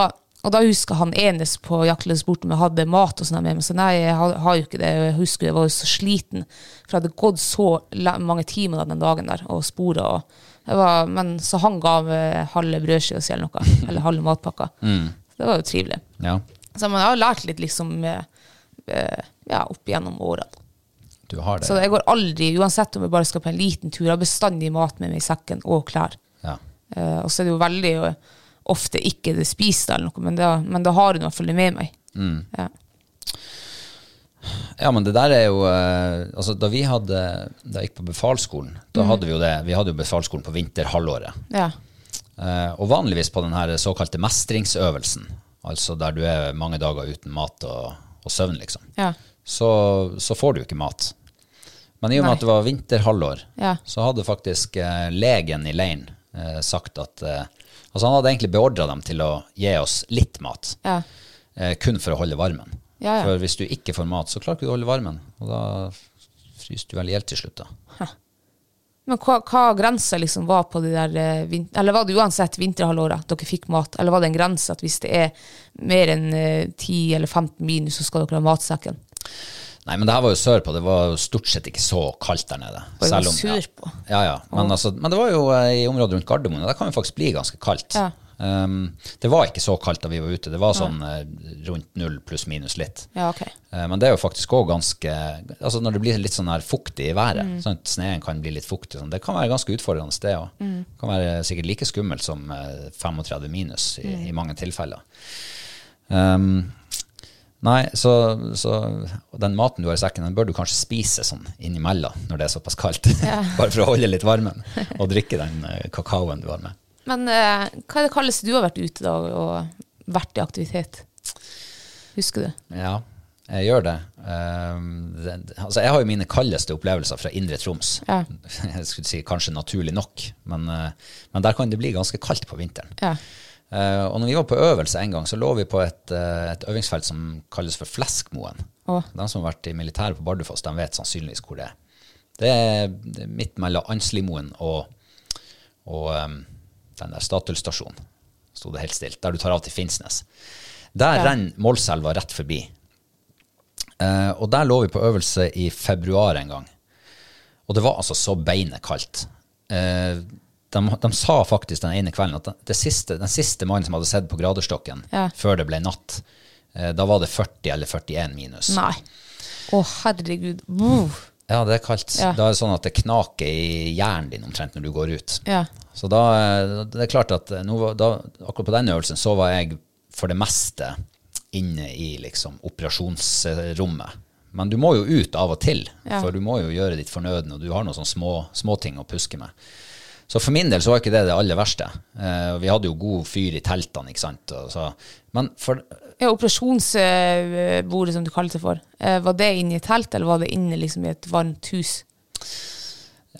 og da husker han enes på jaktlaget spurte om jeg hadde mat og sånn her med meg, så nei, jeg har, har jo ikke det, og jeg husker jeg var jo så sliten, for jeg hadde gått så la- mange timer den dagen der, og sporet, og jeg var, men så eh, han ga meg halve brødskiva si eller noe, eller halve matpakka. Det var jo trivelig.
Ja.
Så man har lært litt liksom eh, eh, ja, opp gjennom årene.
Du har det.
Så jeg går aldri, uansett om jeg bare skal på en liten tur, jeg har bestandig mat med meg i sekken og klær.
Ja.
Eh, og så er det jo veldig eh, ofte ikke det spist eller noe, men da, men da har hun i hvert fall det med meg.
Mm.
Ja.
Ja, men det der er jo eh, Altså, da vi hadde Da jeg gikk på befalsskolen, da
Mm.
hadde vi jo det Vi hadde jo befalsskolen på vinterhalvåret.
Ja.
Eh, og vanligvis på den her såkalte mestringsøvelsen, altså der du er mange dager uten mat og, og søvn, liksom,
Ja.
så, så får du jo ikke mat. Men i og med
Nei.
at det var vinterhalvår,
Ja.
så hadde faktisk eh, legen i leiren eh, sagt at eh, Altså, han hadde egentlig beordra dem til å gi oss litt mat
Ja.
eh, kun for å holde varmen.
Ja, ja.
For hvis du ikke får mat, så klarer ikke du å holde varmen. Og da fryser du vel i hjel til slutt, da.
Men hva, hva grensa liksom var på det der eh, vin Eller var det uansett vinterhalvåret dere fikk mat, eller var det en grense at hvis det er mer enn eh, 10 eller 15 minus, så skal dere ha matsekken?
Nei, men det her var jo sørpå. Det var jo stort sett ikke så kaldt der nede.
Og jeg var
Selv om-
sur på.
Ja, ja. Men, altså, men det var jo eh, i området rundt Gardermoen, og der kan det faktisk bli ganske kaldt.
Ja.
Um, det var ikke så kaldt da vi var ute. Det var sånn eh, rundt null pluss minus litt.
Ja, ok.
Eh, Men det er jo faktisk òg ganske Altså Når det blir litt sånn her fuktig i været, sånn at sneen kan bli litt fuktig, og sånn, det kan være ganske utfordrende sted òg. Kan være sikkert like skummelt som eh, 35 minus i, i mange tilfeller. Um, nei, så, så og den maten du har i sekken, den bør du kanskje spise sånn innimellom når det er såpass kaldt. Bare for å holde litt varmen. Og drikke den eh, kakaoen du har med.
Men eh, hva er det kaldeste du har vært ute da og vært i aktivitet? Husker du?
Ja, jeg gjør det. Ehm, det det- altså, jeg har jo mine kaldeste opplevelser fra Indre Troms.
Ja.
Jeg skulle si kanskje naturlig nok, men, eh, men der kan det bli ganske kaldt på vinteren.
Ja.
Eh, og når vi var på øvelse en gang, så lå vi på et, eh, et øvingsfelt som kalles for Fleskmoen.
Å.
De som har vært i militæret på Bardufoss, de vet sannsynligvis hvor det er. Det er det er midt mellom Anslimoen og, og ehm, den der Statullstasjonen, sto det helt stilt, der du tar av til Finnsnes. Der renner Målselva rett forbi. Eh, og der lå vi på øvelse i februar en gang. Og det var altså så beinet kaldt. Eh, de, de sa faktisk den ene kvelden at det- det siste, den siste mannen som hadde sett på graderstokken
Ja.
før det ble natt, eh, da var det 40 eller 41 minus.
Nei. Å, herregud. Buh.
Ja, det er kaldt.
Ja.
Da er det sånn at det knaker i hjernen din omtrent når du går ut.
Ja.
Så da, eh, det er klart at eh, nå, var- da, akkurat på den øvelsen så var jeg for det meste inne i liksom operasjonsrommet. Men du må jo ut av og til,
Ja.
for du må jo gjøre ditt fornødne, og du har noen sånne små, små ting å puske med. Så for min del så var ikke det det aller verste. Eh, og vi hadde jo god fyr i teltene, ikke sant. Og så, men for,
Ja, Operasjonsbordet, som du kalte det for, eh, var det inne i et telt, eller var det inne liksom i et varmt hus?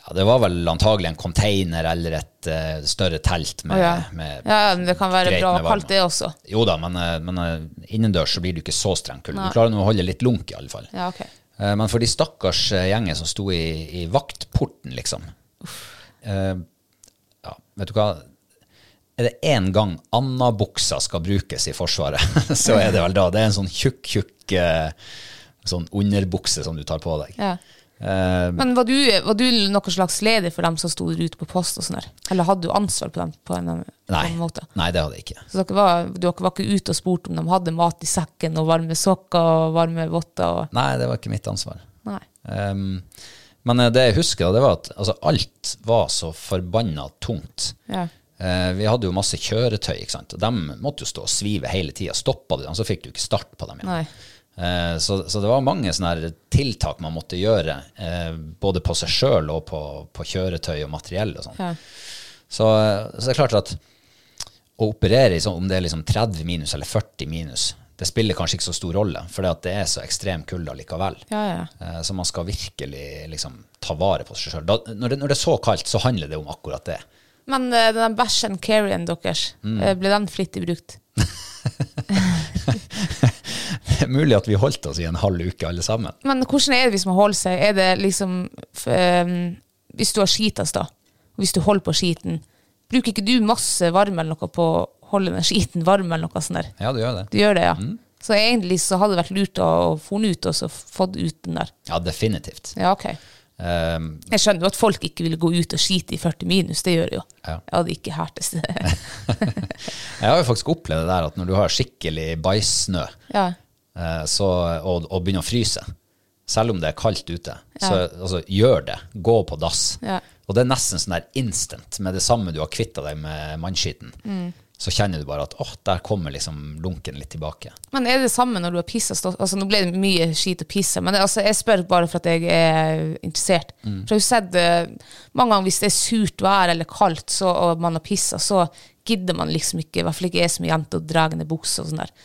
ja, det var vel antagelig en container eller et eh, større telt med,
Å, ja.
med
ja, men det kan være
greit
bra
med
og
varme.
kaldt, det også.
Jo da, men, eh, men eh, innendørs så blir du ikke så streng kulde.
Nei.
Du klarer nå å holde litt lunk, i alle fall.
Ja, ok.
Eh, Men for de stakkars eh, gjengen som sto i, i vaktporten, liksom eh, ja, Vet du hva? Er det én gang Anna-buksa skal brukes i Forsvaret, så er det vel da. Det er en sånn tjukk, tjukk eh, sånn underbukse som du tar på deg.
Ja.
Eh,
Men var du, var du noen slags leder for dem som sto ute på post og sånn der? Eller hadde du ansvar på dem på en, på
nei,
en måte?
nei, det hadde jeg ikke.
Så dere var, dere var ikke ute og spurte om de hadde mat i sekken og varme sokker og varme votter og
Nei, det var ikke mitt ansvar.
Nei.
Ehm, men eh, det jeg husker, da, det var at altså, alt var så forbanna tungt.
Ja.
Eh, vi hadde jo masse kjøretøy, ikke sant? og de måtte jo stå og svive hele tida. Stoppa du dem, så fikk du ikke start på dem igjen.
Nei.
Eh, så, så det var mange sånne her tiltak man måtte gjøre, eh, både på seg sjøl og på, på kjøretøy og materiell og sånn.
Ja.
Så, så det er klart at å operere i sånn, om det er liksom 30 minus eller 40 minus, det spiller kanskje ikke så stor rolle, for det er så ekstrem kulde likevel.
Ja, ja.
Eh, Så man skal virkelig liksom, ta vare på seg sjøl. Når, det- når det er så kaldt, så handler det om akkurat det.
Men eh, den bæsj and carry-en deres, eh, ble den flittig brukt?
Det er mulig at vi holdt oss i en halv uke alle sammen.
Men hvordan er det hvis man holder seg? Er det liksom f- ehm, Hvis du har skitas, da, og hvis du holder på skiten, bruker ikke du masse varme eller noe på å holde den skiten varm eller noe sånt der?
Ja, du gjør det.
Du gjør det, ja. Så egentlig så hadde det vært lurt å få den ut og så fått ut den der.
Ja, definitivt.
Ja, ok.
Ehm,
Jeg skjønner jo at folk ikke vil gå ut og skite i 40 minus, det gjør jeg jo.
Ja.
Jeg hadde ikke hertes det.
jeg har jo faktisk opplevd det der at når du har skikkelig bæsjsnø
ja.
eh, så, og, og begynner å fryse, selv om det er kaldt ute, så altså, gjør det. Gå på dass.
Ja.
Og det er nesten sånn der instant. Med det samme du har kvitta deg med mannskiten, så kjenner du bare at åh, der kommer liksom lunken litt tilbake.
Men er det det samme når du har pissa stå- Altså, nå ble det mye skit å pisse, men det, altså, jeg spør bare for at jeg er interessert. For jeg har jo sett eh, mange ganger hvis det er surt vær eller kaldt så, og man har pissa, så gidder man liksom ikke, i hvert fall ikke jeg som er jente, å dra ned buksa og sånn der.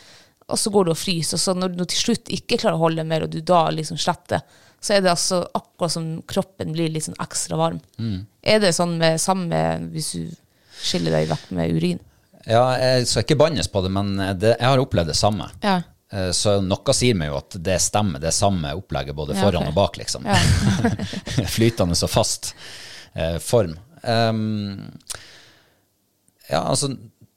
Og så går du og fryser, og så når du til slutt ikke klarer å holde mer, og du da liksom sletter, så er det altså akkurat som kroppen blir litt sånn ekstra varm. Er det sånn med samme hvis du skiller deg vekk med urin?
Ja, jeg skal ikke bannes på det, men det, jeg har opplevd det samme.
Ja.
Eh, Så noe sier meg jo at det stemmer, det er samme opplegget både
Ja,
foran
ok.
og bak, liksom.
Ja.
Flytende og fast eh, form. Ehm, ja, altså,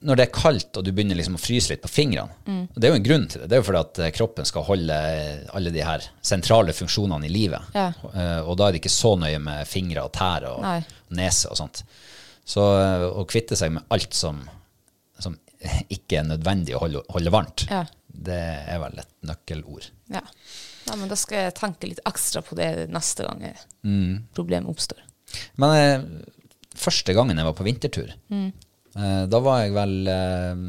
når det er kaldt og du begynner liksom å fryse litt på fingrene,
Mm.
det er jo en grunn til det. Det er jo fordi at eh, kroppen skal holde eh, alle de her sentrale funksjonene i livet.
Ja.
Eh, Og da er det ikke så nøye med fingre og tær og
Nei.
nese og sånt. Så eh, å kvitte seg med alt som, som ikke er nødvendig å holde, holde varmt,
Ja.
det er vel et nøkkelord.
Ja. Nei, men da skal jeg tenke litt ekstra på det neste gang eh, problemet oppstår.
Men eh, første gangen jeg var på vintertur,
Mm.
eh, da var jeg vel eh,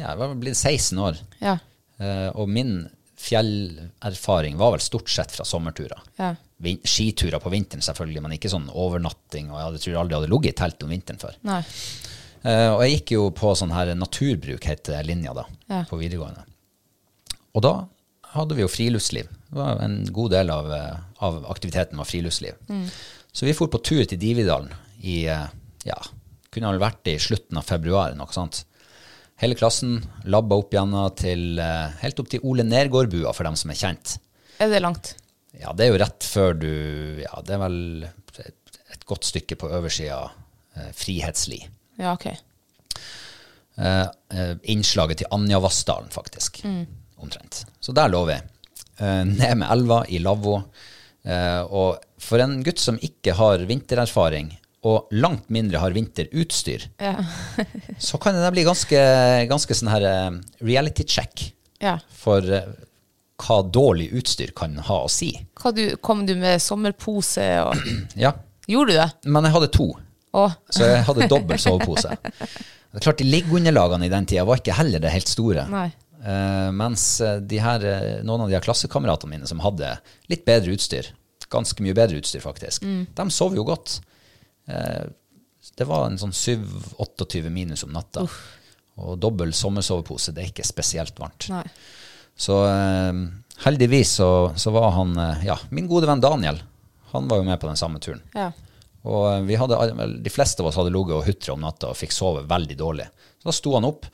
ja, jeg var vel blitt 16 år.
Ja.
Eh, og min fjellerfaring var vel stort sett fra sommerturer.
Ja.
Vin skiturer på vinteren selvfølgelig, men ikke sånn overnatting. Og jeg hadde, tror jeg aldri hadde ligget i telt om vinteren før.
Nei.
Eh, og jeg gikk jo på sånn her naturbruk, heter linja da,
Ja.
på videregående. Og da hadde vi jo friluftsliv. Det var en god del av, eh, av aktiviteten var friluftsliv. Så vi for på tur til Dividalen i, eh, ja, kunne vel vært i slutten av februar, noe sånt. Hele klassen labba opp gjennom til, eh, helt opp til Ole Nergårdbua, for dem som er kjent.
Er det langt?
Ja, det er jo rett før du, ja, det er vel et, et godt stykke på oversida eh, Frihetsli.
Ja, ok.
Eh, eh, innslaget til Anja Vassdalen, faktisk. Omtrent. Så der lå vi. Eh, ned med elva, i lavvo. Eh, og for en gutt som ikke har vintererfaring, og langt mindre har vinterutstyr,
Ja.
så kan det der bli ganske, ganske sånn her eh, reality check
ja.
for eh, hva dårlig utstyr kan ha å si.
Hva du, kom du med sommerpose og
Ja,
Gjorde du det?
men jeg hadde to.
Å,
Så jeg hadde dobbel sovepose. Det er klart, De liggeunderlagene i den tida var ikke heller det helt store.
Nei.
Eh, mens eh, de her, eh, noen av de her klassekameratene mine som hadde litt bedre utstyr, ganske mye bedre utstyr faktisk,
Mm.
de sov jo godt. Eh, det var en sånn 7-28 minus om natta. Og dobbel sommersovepose, det er ikke spesielt varmt.
nei.
Så eh, heldigvis så, så var han, eh, ja, min gode venn Daniel, han var jo med på den samme turen.
Ja.
Og eh, vi hadde, all- vel, de fleste av oss hadde ligget og hutra om natta og fikk sove veldig dårlig. Så da sto han opp,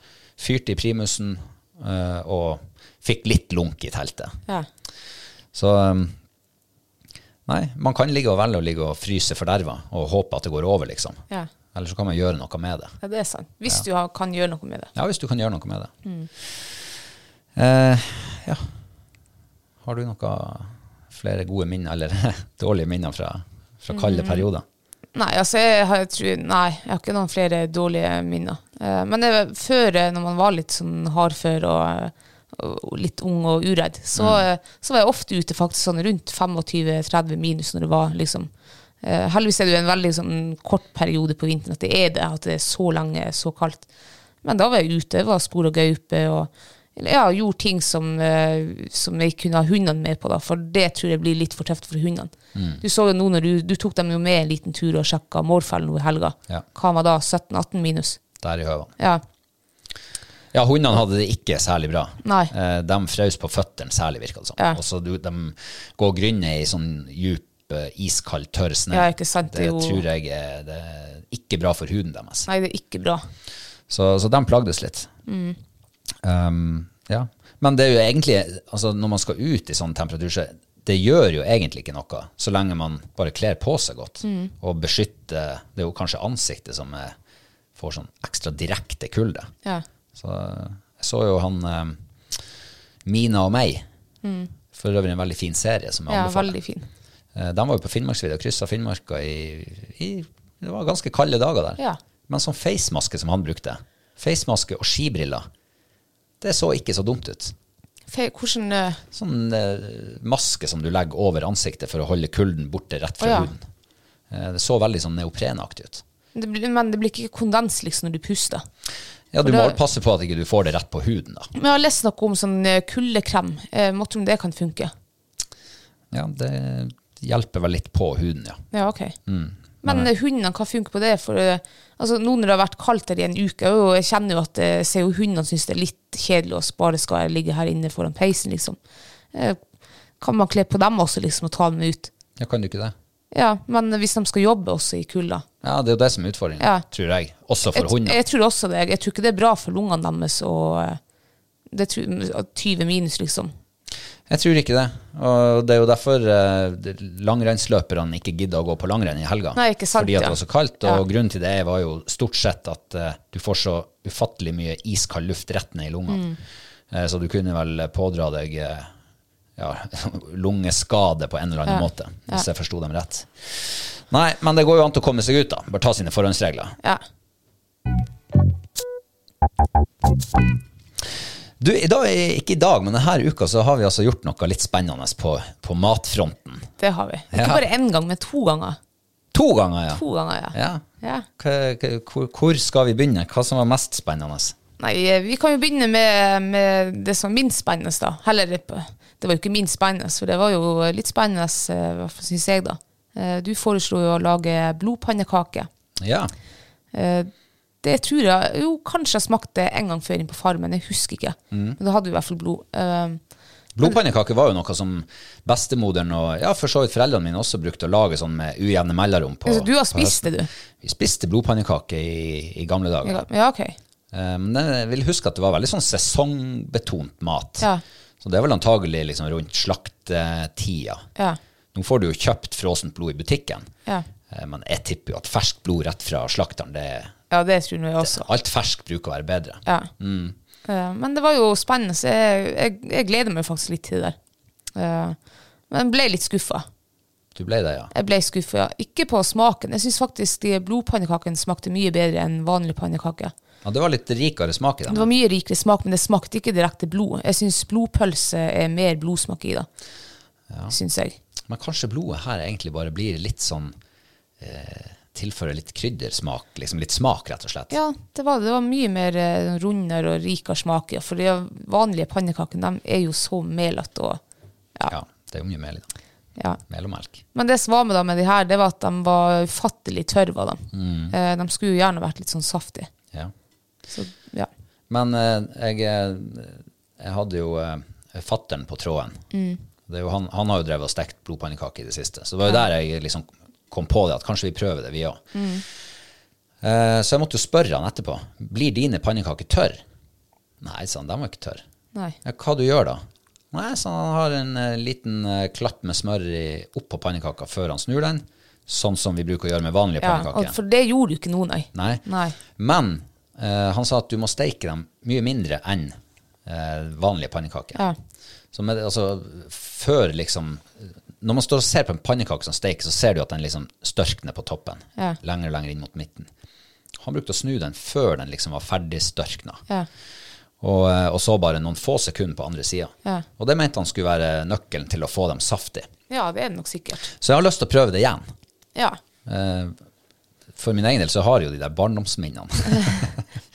fyrte i primusen eh, og fikk litt lunk i teltet.
Ja.
Så eh, nei, man kan ligge og velge å ligge og fryse forderva og håpe at det går over, liksom.
ja.
Eller så kan man gjøre noe med det.
Ja, det er sant. Hvis du har, kan gjøre noe med det.
Ja, hvis du kan gjøre noe med det. Eh, ja. Har du noe flere gode minner, eller dårlige minner fra, fra kalde perioder?
Nei, altså jeg har, jeg tror, nei, jeg har ikke noen flere dårlige minner. Eh, men det var før, eh, når man var litt sånn hardfør og, og litt ung og uredd, så, eh, så var jeg ofte ute faktisk sånn rundt 25-30 minus når det var liksom eh, Heldigvis er det jo en veldig sånn kort periode på vinteren at det er det, at det er så lenge, så kaldt. Men da var jeg ute, jeg var skor og gaupe og eller ja, gjorde ting som, eh, som jeg kunne ha hundene med på, da, for det tror jeg blir litt for tøft for hundene. Du så jo nå når du, du tok dem jo med en liten tur og sjekka Mårfell nå i helga.
Ja.
Hva var da? 17-18 minus?
Der i høvene.
Ja.
Ja, hundene hadde det ikke særlig bra.
Nei.
Eh, de frøs på føttene særlig, virka det som.
Ja.
Og så du- de går grynne i sånn djup, eh, iskald, tørr snø.
Ja, ikke sant,
Det
det er jo-
tror jeg er, det er ikke bra for huden deres.
Nei, det er ikke bra.
Så, så de plagdes litt.
Mm.
Um, ja. Men det er jo egentlig, altså når man skal ut i sånn temperatur, så det gjør jo egentlig ikke noe, så lenge man bare kler på seg godt
Mm.
og beskytter Det er jo kanskje ansiktet som er, får sånn ekstra direkte kulde.
Ja.
Så jeg så jo han eh, Mina og meg. For øvrig en veldig fin serie som jeg
Mm. ja
anbefaler.
veldig fin.
Eh, De var jo på Finnmarksvidda og kryssa Finnmarka i, i Det var ganske kalde dager der.
Ja.
Men sånn facemaske som han brukte, facemaske og skibriller, det så ikke så dumt ut.
Fe, hvordan eh,
Sånn eh, maske som du legger over ansiktet for å holde kulden borte rett fra
Å, ja.
huden. Eh, det så veldig sånn neoprenaktig ut.
det blir, Men det blir ikke kondens liksom når du puster.
Ja, du
For
må
da-
vel passe på at ikke du får det rett på huden, da.
Men jeg har lest noe om sånn eh, kuldekrem. Eh, Måtte om det kan funke.
Ja, det hjelper vel litt på huden, ja.
Ja, ok.
Mm.
Men eh, hundene, hva funker på det? For, eh, altså, nå når det har vært kaldt her i en uke, og jeg kjenner jo at eh, ser jo hundene syns det er litt kjedelig å bare skal ligge her inne foran peisen, liksom. Eh, Kan man kle på dem også, liksom, og ta dem ut?
Ja, kan du ikke det?
Ja, men hvis de skal jobbe også i kulda
Ja, det er jo det som er utfordringen,
Ja.
tror jeg. Også for
jeg,
hunder.
jeg tror også det. Jeg tror ikke det er bra for lungene deres å eh, det tror, at 20 minus, liksom.
Jeg tror ikke det. Og det er jo derfor eh, det- langrennsløperne ikke gidder å gå på langrenn i helga.
Nei, ikke sant,
Fordi at
ja.
det var så kaldt, og
Ja.
grunnen til det var jo stort sett at eh, du får så ufattelig mye iskald luft rett ned i
Mm.
lungene. Eh, så du kunne vel pådra deg eh, ja, lungeskade på en eller annen måte, hvis jeg forsto dem rett. Nei, men det går jo an til å komme seg ut, da. Bare ta sine forhåndsregler.
Ja.
Du, i dag, ikke i dag, men denne uka så har vi altså gjort noe litt spennende på, på matfronten.
Det har vi. Ikke
Ja.
bare én gang, men to ganger.
To ganger, ja.
To ganger, ja.
ja.
ja.
Hva- hva- Hvor, hvor skal vi begynne? Hva som var mest spennende?
Nei, eh, vi kan jo begynne med, med det som var minst spennende, da. Heller, det på- det var jo ikke minst spennende, for det var jo eh, litt spennende, eh, hva syns jeg, da. Eh, Du foreslo jo å lage blodpannekake.
Ja.
Eh, Det tror jeg jo kanskje jeg smakte en gang før inn på Farmen, jeg husker ikke. Men da hadde vi i hvert fall blod. Eh,
Blodpannekaker var jo noe som bestemoderen og ja, for så vidt foreldrene mine også brukte å lage sånn med ujevne mellomrom. På,
Altså, du har
på
spist
høsten.
det, du?
Vi spiste blodpannekaker i, i gamle dager.
Ja, ok.
Eh, Men jeg vil huske at det var veldig sånn sesongbetont mat.
Ja.
Så det er vel antagelig liksom rundt slaktetida.
Ja.
Nå får du jo kjøpt frossent blod i butikken,
Ja.
Eh, men jeg tipper jo at ferskt blod rett fra slakteren, det er
ja, det tror jeg også.
Alt ferskt bruker å være bedre.
Ja. Eh, Men det var jo spennende, så jeg, jeg, jeg gleder meg faktisk litt til det der. Eh, Men ble litt skuffa.
Du ble det, ja.
Jeg ble skuffa. Ikke på smaken. Jeg syns faktisk de blodpannekakene smakte mye bedre enn vanlig pannekake.
ja. Det var litt rikere smak i
Det
den.
var mye rikere smak, men det smakte ikke direkte blod. Jeg syns blodpølse er mer blodsmak i det. Syns jeg.
Men kanskje blodet her egentlig bare blir litt sånn eh, Tilfører litt kryddersmak. Liksom litt smak, rett og slett.
Ja, det var, det var mye mer eh, rundere og rikere smak. Ja. For de vanlige pannekakene de er jo så melete og
Ja, Det er jo mye mel i den.
ja.
Mel og melk.
Men det som var med dem med de her, det var at de var ufattelig tørre. Var de. Eh, de skulle jo gjerne vært litt sånn saftige.
Ja.
Så, ja.
Men eh, jeg, eh, jeg hadde jo eh, fatteren på tråden.
Mm.
Det er jo han, han har jo drevet og stekt blodpannekaker i det siste. Så det var jo der jeg liksom kom på det, at kanskje vi prøver det, vi òg.
Mm.
Eh, så jeg måtte jo spørre han etterpå. Blir dine pannekaker tørre? Nei, sa han, de var ikke tørre.
Nei.
Ja, hva du gjør da? Nei, så han har en eh, liten eh, klatt med smør i, oppå pannekaka før han snur den, sånn som vi bruker å gjøre med vanlige
Ja, og
pannekaker.
for det gjorde jo ikke noe, nei.
Nei.
Nei.
Men eh, han sa at du må steike dem mye mindre enn eh, vanlige pannekaker.
Ja.
Så med, altså, før liksom Når man står og ser på en pannekake som steiker, så ser du at den liksom størkner på toppen.
Ja.
Lenger og lenger inn mot midten. Han brukte å snu den før den liksom var ferdig størkna
Ja.
og, eh, og så bare noen få sekunder på andre sida.
Ja.
Og det mente han skulle være nøkkelen til å få dem saftig.
ja, det er det nok sikkert.
Så jeg har lyst til å prøve det igjen.
Ja.
Eh, For min egen del så har jeg jo de der barndomsminnene.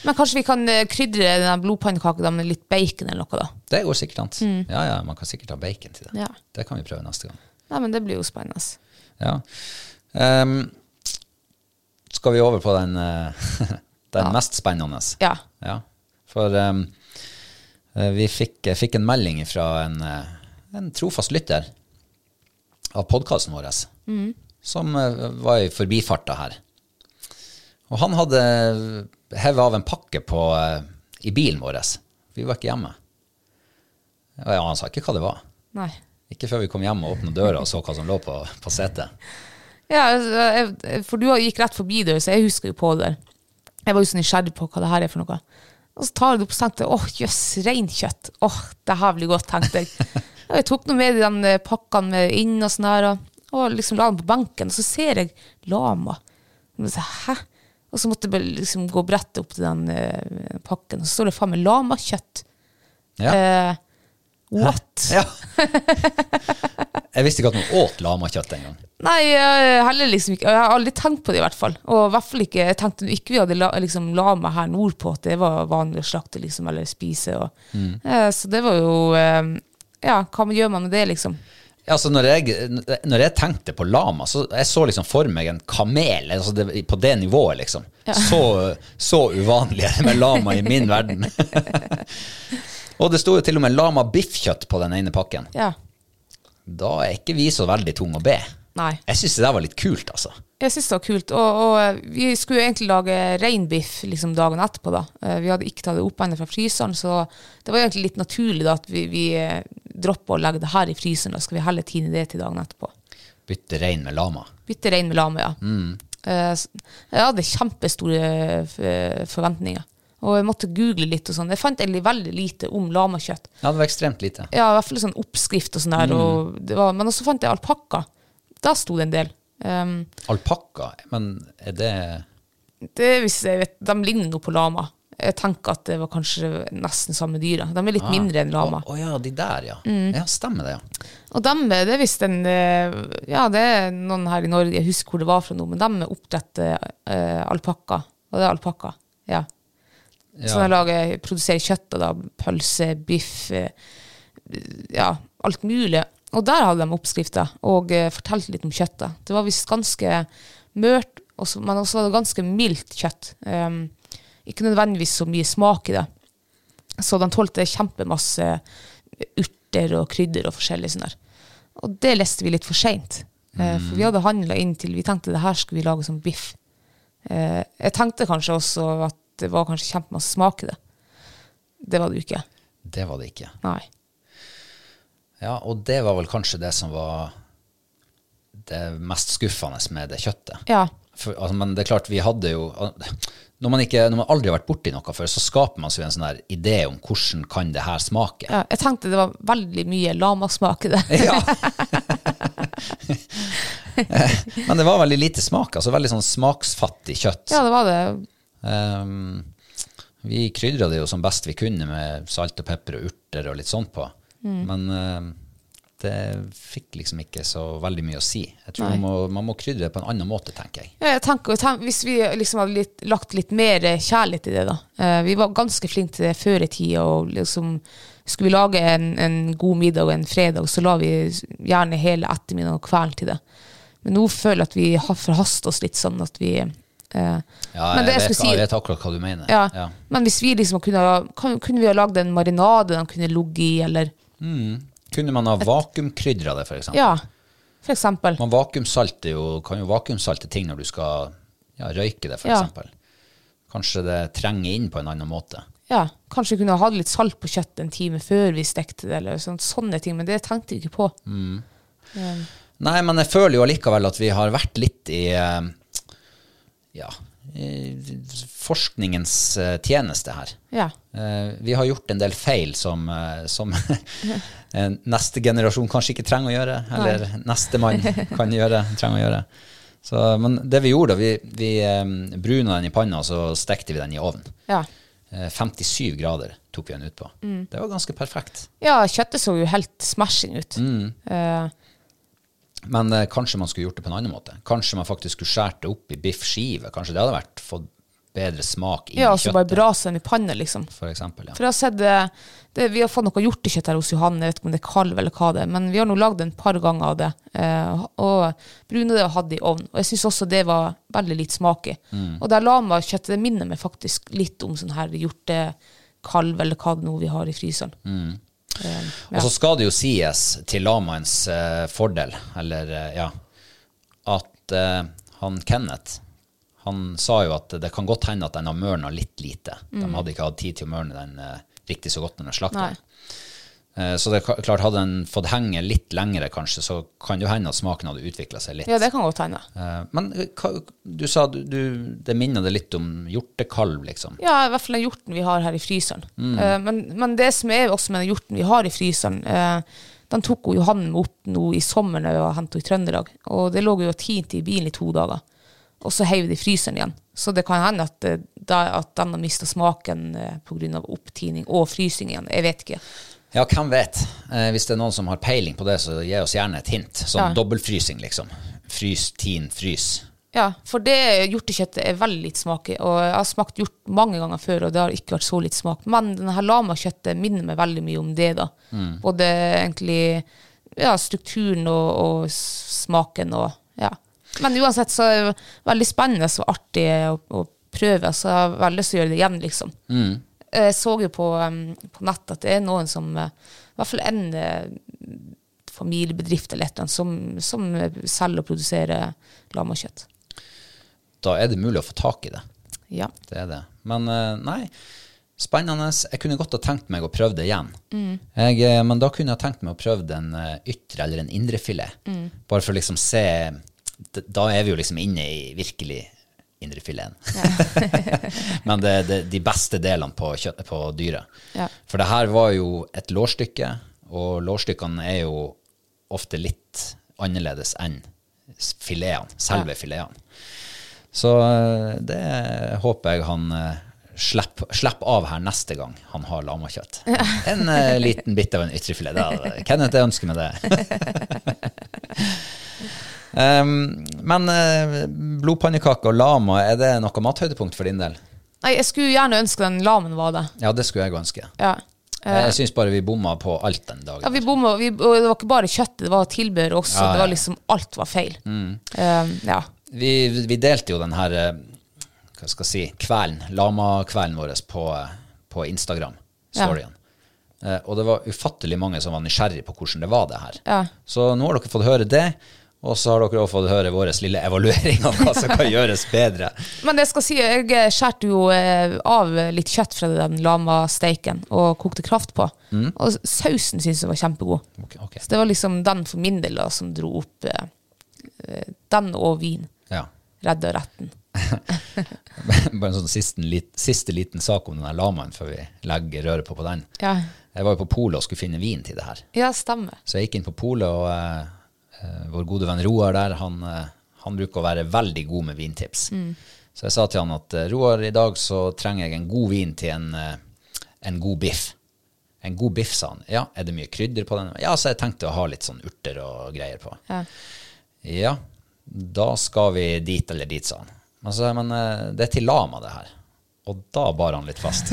Men kanskje vi kan eh, krydre den blodpannekaka da med litt bacon eller noe, da.
Det går sikkert an. Ja, ja, man kan sikkert ha bacon til det.
Ja.
Det kan vi prøve neste gang.
Nei, men det blir jo spennende.
Ja. Ehm, skal vi over på den, eh, den mest spennende?
Ja.
Ja. For ehm, eh, vi fikk, jeg fikk en melding fra en, eh, en trofast lytter av podkasten vår, som eh, var i forbifarta her. Og han hadde eh, hevet av en pakke på, eh, i bilen vår. Vi var ikke hjemme. Og ja, han sa ikke hva det var.
Nei.
Ikke før vi kom hjem og åpna døra og så hva som lå på, på setet.
Ja, jeg- jeg- for du gikk rett forbi det, så jeg husker jo på det. Jeg var jo så nysgjerrig på hva det her er for noe. Og så tar jeg det opp og tenkte åh, jøss, reinkjøtt. Åh, det her blir godt, tenkte jeg. Og jeg tok noe med i den eh, pakkene med inn og sånn her. Og, Og liksom la den på benken, og så ser jeg lama. Og så, Hæ? Og så måtte jeg bare liksom gå brettet opp til den eh, pakken, og så står det faen meg lamakjøtt.
Ja.
Eh, what?
Ja. Jeg visste ikke at man åt lamakjøtt engang.
Nei, jeg heller liksom ikke. Jeg har aldri tenkt på det, i hvert fall. Og i hvert fall ikke jeg tenkte ikke vi hadde la, liksom, lama her nordpå, at det var vanlig å slakte liksom, eller spise. Og, eh, så det var jo eh, Ja, hva gjør man med det, liksom?
Ja, altså når, jeg, når jeg tenkte på lama, så jeg så liksom for meg en kamel. Altså det, på det nivået, liksom. Så, så uvanlig er det med lama i min verden. og det sto jo til og med lama biffkjøtt på den ene pakken.
Ja.
Da er ikke vi så veldig tunge å be.
Nei.
Jeg syns det der var litt kult, altså.
Jeg syns det var kult. Og, og eh, vi skulle jo egentlig lage reinbiff liksom, dagen etterpå. da. Eh, Vi hadde ikke tatt det opp ennå fra fryseren, så det var egentlig litt naturlig da, at vi, vi eh, dropper å legge det her i fryseren, og skal vi heller tine det til dagen etterpå.
Bytte rein med lama.
Bytte rein med lame, ja. Eh, s- Jeg hadde kjempestore eh, forventninger. Og jeg måtte google litt. og sånn. Jeg fant egentlig veldig lite om lamakjøtt.
Ja, det var ekstremt lite.
Ja, I hvert fall sånn oppskrift og sånn der. Og det var, men også fant jeg alpakka. Der sto det en del. Um,
Alpakka, men er det
det hvis jeg vet, De ligner noe på lama. Jeg tenker at det var kanskje nesten samme dyra. De er litt mindre enn lama.
Å å ja, de der, ja. Ja, stemmer det, ja.
Og dem, det er visst en eh, Ja, det er noen her i Norge, jeg husker hvor det var fra nå, men dem oppdretter eh, alpakka. Og det er alpakka. Ja. Så de lager, produserer kjøtt og da pølse, biff eh, Ja, alt mulig. Og der hadde de oppskrifta og eh, fortalte litt om kjøttet. Det var visst ganske mørt, og så- men også var det ganske mildt kjøtt. Um, ikke nødvendigvis så mye smak i det. Så de tålte kjempemasse urter og krydder og forskjellig sånn der. Og det leste vi litt for seint. For vi hadde handla inn til Vi tenkte det her skulle vi lage som biff. Eh, Jeg tenkte kanskje også at det var kanskje kjempemasse smak i det. Det var det jo ikke.
Det var det ikke.
Nei.
Ja, og det var vel kanskje det som var det mest skuffende med det kjøttet.
Ja.
For, altså, men det er klart, vi hadde jo Når man, ikke, når man aldri har vært borti noe før, så skaper man seg en sånn der idé om hvordan kan det her smake.
ja. Jeg tenkte det var veldig mye lamasmak i det.
Ja. men det var veldig lite smak. altså Veldig sånn smaksfattig kjøtt.
Ja, det var det.
Ehm, vi krydra det jo som best vi kunne med salt og pepper og urter og litt sånt på.
Mm.
Men ehm, det fikk liksom ikke så veldig mye å si. Jeg tror man må, man må krydre det på en annen måte, tenker jeg.
Ja, Jeg tenker, tenk, hvis vi liksom hadde litt, lagt litt mer eh, kjærlighet i det, da. Eh, vi var ganske flinke til det før i tida. og Liksom, skulle vi lage en, en god middag en fredag, så la vi gjerne hele ettermiddagen og kvelden til det. Men nå føler jeg at vi har forhaster oss litt sånn at vi eh,
Ja,
Men det
jeg, vet,
jeg skulle si-
jeg vet akkurat hva du mener.
ja,
Ja.
Men hvis vi liksom kunne, ha- kan, kunne vi ha lagd en marinade den kunne ligget i, eller
Kunne man ha vakuumkrydra det, for eksempel?
Ja, for eksempel.
Man vakuumsalter jo, kan jo vakuumsalte ting når du skal ja, røyke det, for
Ja.
eksempel. Kanskje det trenger inn på en annen måte.
Ja, kanskje kunne ha hatt litt salt på kjøttet en time før vi stekte det, eller sånn, sånne ting, men det tenkte vi ikke på.
Mm. Nei, men jeg føler jo allikevel at vi har vært litt i eh, ja, i forskningens eh, tjeneste her.
Ja.
Eh, Vi har gjort en del feil som, eh, som eh, neste generasjon kanskje ikke trenger å gjøre, eller nestemann kan gjøre, trenger å gjøre. Så, men det vi gjorde, da, vi, vi eh, bruna den i panna, og så stekte vi den i ovnen.
Ja.
Eh, 57 grader tok vi den ut på. Det var ganske perfekt.
ja, kjøttet så jo helt smashing ut.
Mm,
Eh,
Men eh, kanskje man skulle gjort det på en annen måte. Kanskje man faktisk skulle skåret det opp i biffskive. Kanskje det hadde vært fått bedre smak inn
ja,
i
og så bare
kjøttet,
brase den i panna, liksom.
for eksempel. Ja.
For jeg har sett, eh, det, Vi har fått noe hjortekjøtt her hos Johan, jeg vet ikke om det er kalv eller hva det er, men vi har nå lagd en par ganger av det. eh, og bruna det og hatt det i ovn. Og jeg syns også det var veldig litt smak i.
Mm.
Og det lamakjøttet det minner meg faktisk litt om sånn her hjortekalv eller hva det nå vi har i fryseren. Eh, ja.
Mm. Og så skal det jo sies til lamaens eh, fordel, eller eh, ja, at eh, han Kenneth, han sa jo at det kan godt hende at den har mørna litt lite. De hadde ikke hatt tid til å mørne den eh, riktig så godt når de slakta
Mm. Nei.
den. Eh, Så det er ka- klart, hadde den fått henge litt lengre, kanskje, så kan det jo hende at smaken hadde utvikla seg litt.
ja, det kan godt hende.
Eh, Men hva- du sa du, du, det minner deg litt om hjortekalv, liksom.
Ja, i hvert fall den hjorten vi har her i fryseren. Eh, men, men det som er også med den hjorten vi har i fryseren, eh, Den tok hun Johanne med opp nå i sommer når vi var hentet i Trøndelag. Og det lå jo og tinte i bilen i to dager. Og så heiv de i fryseren igjen. Så det kan hende at, eh, da- at den har mista smaken eh, pga. opptining og frysing igjen. Jeg vet ikke.
Ja, hvem vet? Eh, hvis det er noen som har peiling på det, så gi oss gjerne et hint. Sånn
Ja.
dobbeltfrysing, liksom. Frys, tin, frys.
Ja, for det hjortekjøttet er veldig litt smak i. Og jeg har smakt hjort mange ganger før, og det har ikke vært så litt smak. Men denne her lamakjøttet minner meg veldig mye om det, da. Både egentlig ja, strukturen og, og s- smaken og ja. Men uansett så er det veldig spennende og artig å, å prøve, så jeg har veldig lyst til å gjøre det igjen, liksom. Jeg så jo på, um, på nett at det er noen som eh, I hvert fall en eh, familiebedrift eller et eller annet som, som eh, selger og produserer lamakjøtt.
Da er det mulig å få tak i det.
Ja.
Det er det. Men eh, nei, spennende. Jeg kunne godt ha tenkt meg å prøve det igjen. Jeg, eh, men da kunne jeg tenkt meg å prøve den eh, ytre eller en indre filet. Bare for å liksom se d- Da er vi jo liksom inne i virkelig indrefileten. men det er de beste delene på, kjøtt, på dyret.
Ja.
For det her var jo et lårstykke, og lårstykkene er jo ofte litt annerledes enn s- filetene, selve filetene. Så eh, det håper jeg han eh, slipper, slipper av her neste gang han har lamakjøtt. En eh, liten bit av en ytrefilet. Det hadde- Kenneth, jeg ønsker meg det. um, men eh, blodpannekake og lama, er det noe mathøydepunkt for din del?
Nei, jeg skulle gjerne ønske den lamen var det.
Ja, det skulle jeg ønske.
Ja. Eh,
Jeg syns bare vi bomma på alt den dagen.
ja, vi bomma, vi, og det var ikke bare kjøttet, det var tilbehør også.
Ja, Mm. ja.
Det var liksom, alt var feil. Eh, ja.
vi, vi delte jo den her eh, hva skal jeg si, kvelden, lama-kvelden vår på, eh, på Instagram. storyen. Eh, Og det var ufattelig mange som var nysgjerrig på hvordan det var det her.
Ja.
Så nå har dere fått høre det, og så har dere også fått høre vår lille evaluering av hva som kan gjøres bedre.
Men det skal si, jeg skjærte jo eh, av litt kjøtt fra den lamasteiken og kokte kraft på.
Mm.
Og sausen syns jeg var kjempegod.
Ok, ok.
Så det var liksom den for min del da, som dro opp eh, eh, den og vin.
Ja.
Redda retten.
Bare en sånn siste, lit- siste liten sak om den her lamaen før vi legger røret på på den.
Ja,
Jeg var jo på polet og skulle finne vin til det her.
ja stemmer.
Så jeg gikk inn på polet, og eh, eh, vår gode venn Roar der, han, eh, han bruker å være veldig god med vintips. Så jeg sa til han at eh, Roar, i dag så trenger jeg en god vin til en, eh, en god biff. En god biff, sa han. Ja, er det mye krydder på den? Ja, så jeg tenkte å ha litt sånn urter og greier på.
Ja.
Ja, da skal vi dit eller dit, sa han. Men så sa jeg, men eh, det er til Lama, det her. Og da bar han litt fast.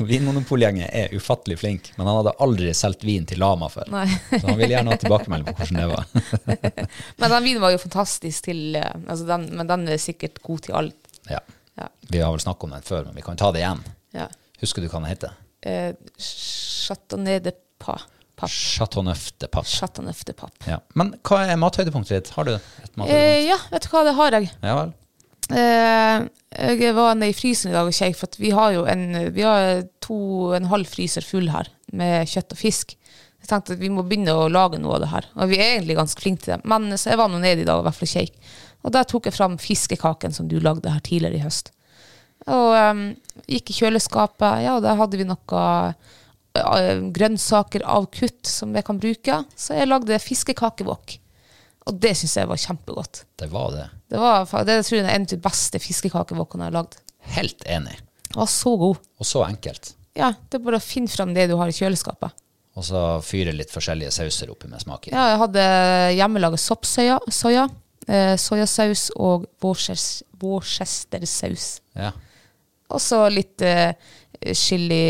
Vinmonopolgjengen er ufattelig flink, men han hadde aldri solgt vin til Lama før.
Nei.
så han ville gjerne ha tilbakemelding på hvordan det var.
Men den vinen var jo fantastisk til eh, altså den, Men den er sikkert god til alt.
ja.
Ja.
Vi har vel snakket om den før, men vi kan ta det igjen.
ja.
Husker du hva den heter?
Eh, Chateauneuf de pa. Pap.
Chateau Neuf de Pape.
Chateauneuf de pap.
Ja. Men hva er mathøydepunktet ditt? Har du et mathøydepunkt?
Eh, ja, vet du hva, det har jeg.
Ja vel.
Eh, jeg var nede i fryseren i dag og kjekk, for at vi har jo en, vi har to og en halv fryser full her med kjøtt og fisk. Jeg tenkte at vi må begynne å lage noe av det her, og vi er egentlig ganske flinke til det. Men så jeg var nå nede i dag og i hvert fall kjekk, og der tok jeg fram fiskekaken som du lagde her tidligere i høst. Og em, gikk i kjøleskapet, ja, og der hadde vi noe eh, grønnsaker avkutt som jeg kan bruke, så jeg lagde fiskekakevåk. Og det synes jeg var kjempegodt.
Det var det.
Det var fa- det tror jeg er en av de beste fiskekakevåkene jeg har lagd.
Helt enig.
Den var så god.
Og så enkelt.
Ja, Det er bare å finne fram det du har i kjøleskapet.
Og så fyre litt forskjellige sauser oppi med smak i.
Ja, jeg hadde hjemmelaga soppsoya, soya, eh, soyasaus og Worcester- worcestersaus.
Ja.
Og så litt eh, chili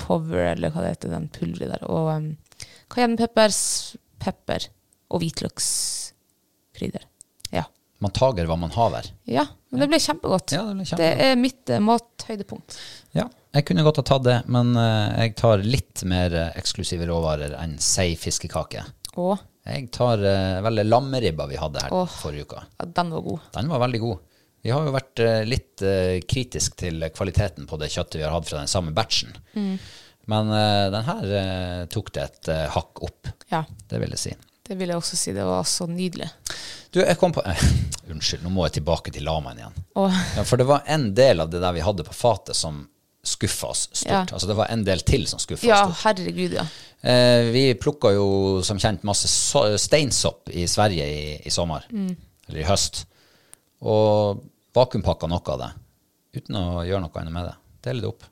power, eller hva det heter, den pulveret der. Og um, cayennepepper, s- pepper og hvitløkskrydder. Ja.
Man tager hva man haver.
ja. Men det ble kjempegodt.
Ja, det ble kjempegodt.
det er mitt eh, mathøydepunkt.
Ja, jeg kunne godt ha tatt det, men eh, jeg tar litt mer eh, eksklusive råvarer enn sei fiskekake.
Og
Jeg tar eh, veldig lammeribba vi hadde her
Åh.
forrige uka.
ja, den var god.
Den var veldig god. Vi har jo vært eh, litt eh, kritisk til kvaliteten på det kjøttet vi har hatt fra den samme batchen.
Mm.
Men eh, den her eh, tok det et eh, hakk opp,
Ja.
det vil jeg si.
Det vil jeg også si. Det var så nydelig.
Du, jeg kom på eh, Unnskyld, nå må jeg tilbake til lamaen igjen.
Og,
Ja, for det var en del av det der vi hadde på fatet som skuffa oss stort.
Ja.
Altså det var en del til som skuffa
Ja,
oss stort.
herregud, ja.
Eh, vi plukka jo som kjent masse so steinsopp i Sverige i, i sommer. Eller i høst. Og vakuumpakka noe av det. Uten å gjøre noe annet med det. Dele det opp.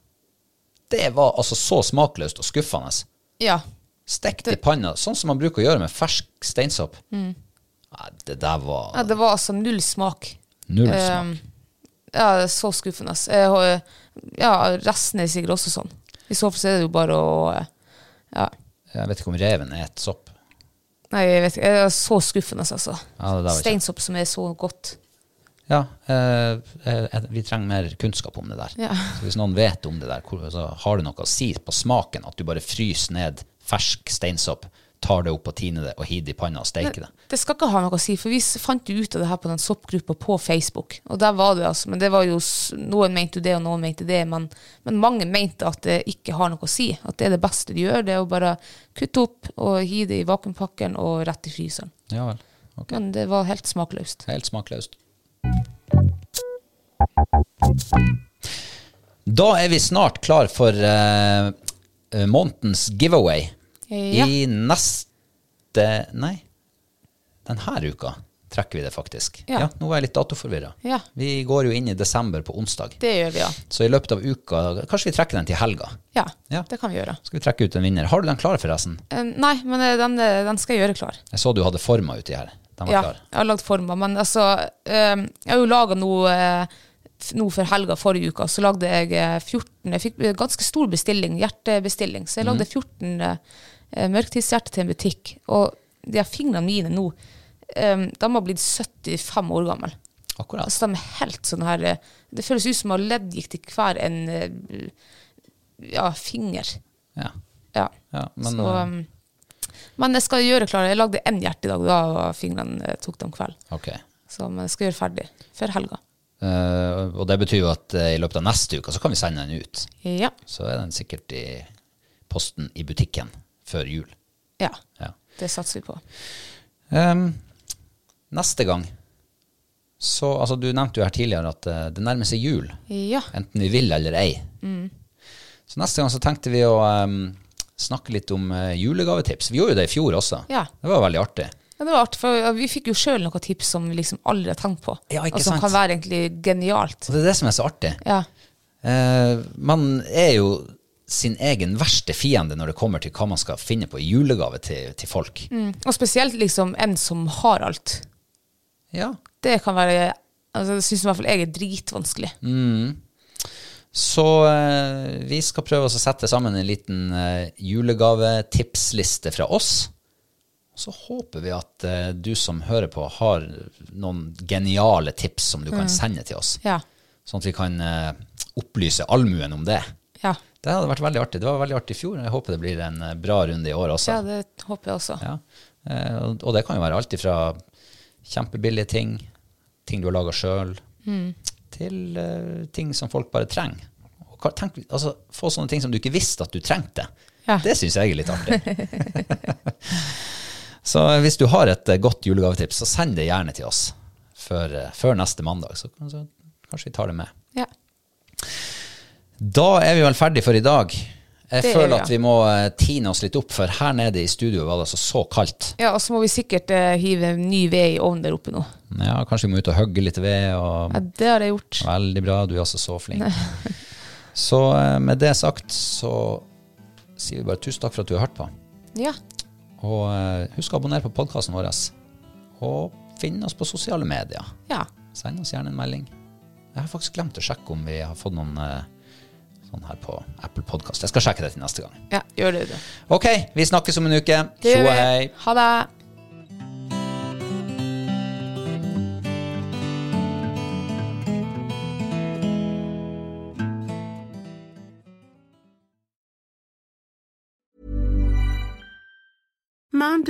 Det var altså så smakløst og skuffende.
Ja.
Stekt i panna, sånn som man bruker å gjøre med fersk steinsopp. Nei, det der var
ja det var altså null smak. Ehm,
null smak.
Ja, det er så skuffende. ass. Jeg har- Ja, resten er sikkert også sånn. I så fall så er det jo bare å eh, Ja.
Jeg vet ikke om reven er et sopp.
Nei, jeg vet ikke. Det er så skuffende, altså.
Ja, det der var ikke-
Steinsopp som er så godt.
Ja, eh, eh, vi trenger mer kunnskap om det der.
Ja.
Så hvis noen vet om det der, hvor- så har det noe å si på smaken at du bare fryser ned fersk steinsopp, tar det opp og tiner det og hiver det i panna og steker det.
Det skal ikke ha noe å si, for vi s- fant jo ut av det her på den soppgruppa på Facebook. Og der var det altså, men det var jo s- Noen mente jo det, og noen mente det, men, men mange mente at det ikke har noe å si. At det er det beste de gjør, det er å bare kutte opp og hive det i vakuumpakken og rett i fryseren.
Ja vel. Ok.
Men det var helt smakløst.
Helt smakløst. Da er vi snart klar for eh, eh, månedens giveaway
Ja.
i neste Nei, denne uka trekker vi det faktisk.
Ja.
Ja, nå var jeg litt datoforvirra.
Ja.
Vi går jo inn i desember på onsdag.
Det gjør vi, ja.
Så i løpet av uka Kanskje vi trekker den til helga.
Ja,
Ja.
det kan vi gjøre.
Skal vi trekke ut en vinner? Har du den klar, forresten?
Eh, nei, men eh, den, eh, den skal jeg gjøre klar.
Jeg så du hadde forma uti her. Den var
Ja,
klar.
jeg har lagd former, men altså eh, Jeg har jo laga noe eh, f- nå for helga forrige uke, så lagde jeg eh, 14 Jeg fikk eh, ganske stor bestilling, hjertebestilling, så jeg lagde
Mhm.
14 eh, eh, mørketidshjerte til en butikk. Og de her fingrene mine nå, eh, de har blitt 75 år gamle.
Akkurat.
Altså, de er helt sånn her eh, Det føles ut som å ha ledd gikk til hver en eh, ja, finger.
Ja.
Ja.
ja men
så,
eh,
um, men jeg skal gjøre klar. Jeg lagde én hjerte i dag, da var fingrene eh, tok dem kveld.
Ok.
Så men jeg skal gjøre ferdig før helga.
Eh, og det betyr jo at eh, i løpet av neste uke så kan vi sende den ut.
Ja.
Så er den sikkert i posten i butikken før jul.
ja.
Ja.
Det satser vi på.
Ehm, neste gang så Altså, du nevnte jo her tidligere at eh, det nærmer seg jul.
Ja.
Enten vi vil eller ei.
Mm.
Så neste gang så tenkte vi å ehm, snakke litt om eh, julegavetips. Vi gjorde jo det i fjor også.
Ja.
Det var veldig artig.
ja det var artig, for vi fikk jo sjøl noen tips som vi liksom aldri har tenkt på.
Ja, ikke
og som
sant?
kan være egentlig genialt.
Og det er det som er så artig.
Ja.
Eh, man er jo sin egen verste fiende når det kommer til hva man skal finne på i julegave til, til folk.
Mm. Og spesielt liksom en som har alt.
Ja.
Det kan være altså, Det syns i hvert fall jeg er dritvanskelig.
Så eh, vi skal prøve oss å sette sammen en liten eh, julegavetipsliste fra oss. Så håper vi at eh, du som hører på, har noen geniale tips som du kan sende til oss.
Ja.
Sånn at vi kan eh, opplyse allmuen om det.
Ja.
Det hadde vært veldig artig. Det var veldig artig i fjor, og jeg håper det blir en eh, bra runde i år også.
ja, det håper jeg også.
Ja. Eh, og- Og det kan jo være alt ifra kjempebillige ting, ting du har laga sjøl,
Mm.
til eh, ting som folk bare trenger. Og hva- Tenk, altså, få sånne ting som du ikke visste at du trengte.
Ja.
Det syns jeg er litt artig. så eh, hvis du har et eh, godt julegavetips, så send det gjerne til oss før, eh, før neste mandag. Så, så kanskje vi tar det med.
Ja.
Da er vi vel ferdig for i dag. Jeg
Det er
føler
vi,
at
ja.
vi må eh, tine oss litt opp, for her nede i studio var det altså så kaldt.
ja, og så må vi sikkert eh, hive ny ved i ovnen der oppe nå.
Ja, kanskje vi må ut og hogge litt ved. Og...
Ja, det har jeg gjort.
Veldig bra, du er altså så flink. så eh, med det sagt så sier vi bare tusen takk for at du har hørt på.
Ja.
Og eh, husk å abonnere på podkasten vår. Og finn oss på sosiale medier.
ja.
Send oss gjerne en melding. Jeg har faktisk glemt å sjekke om vi har fått noen eh, sånn her på Apple Podkast. Jeg skal sjekke det til neste gang.
Ja, gjør det, du.
Ok, vi snakkes om en uke.
Det
Tjo
gjør
og
vi.
hei.
Ha det.
Mom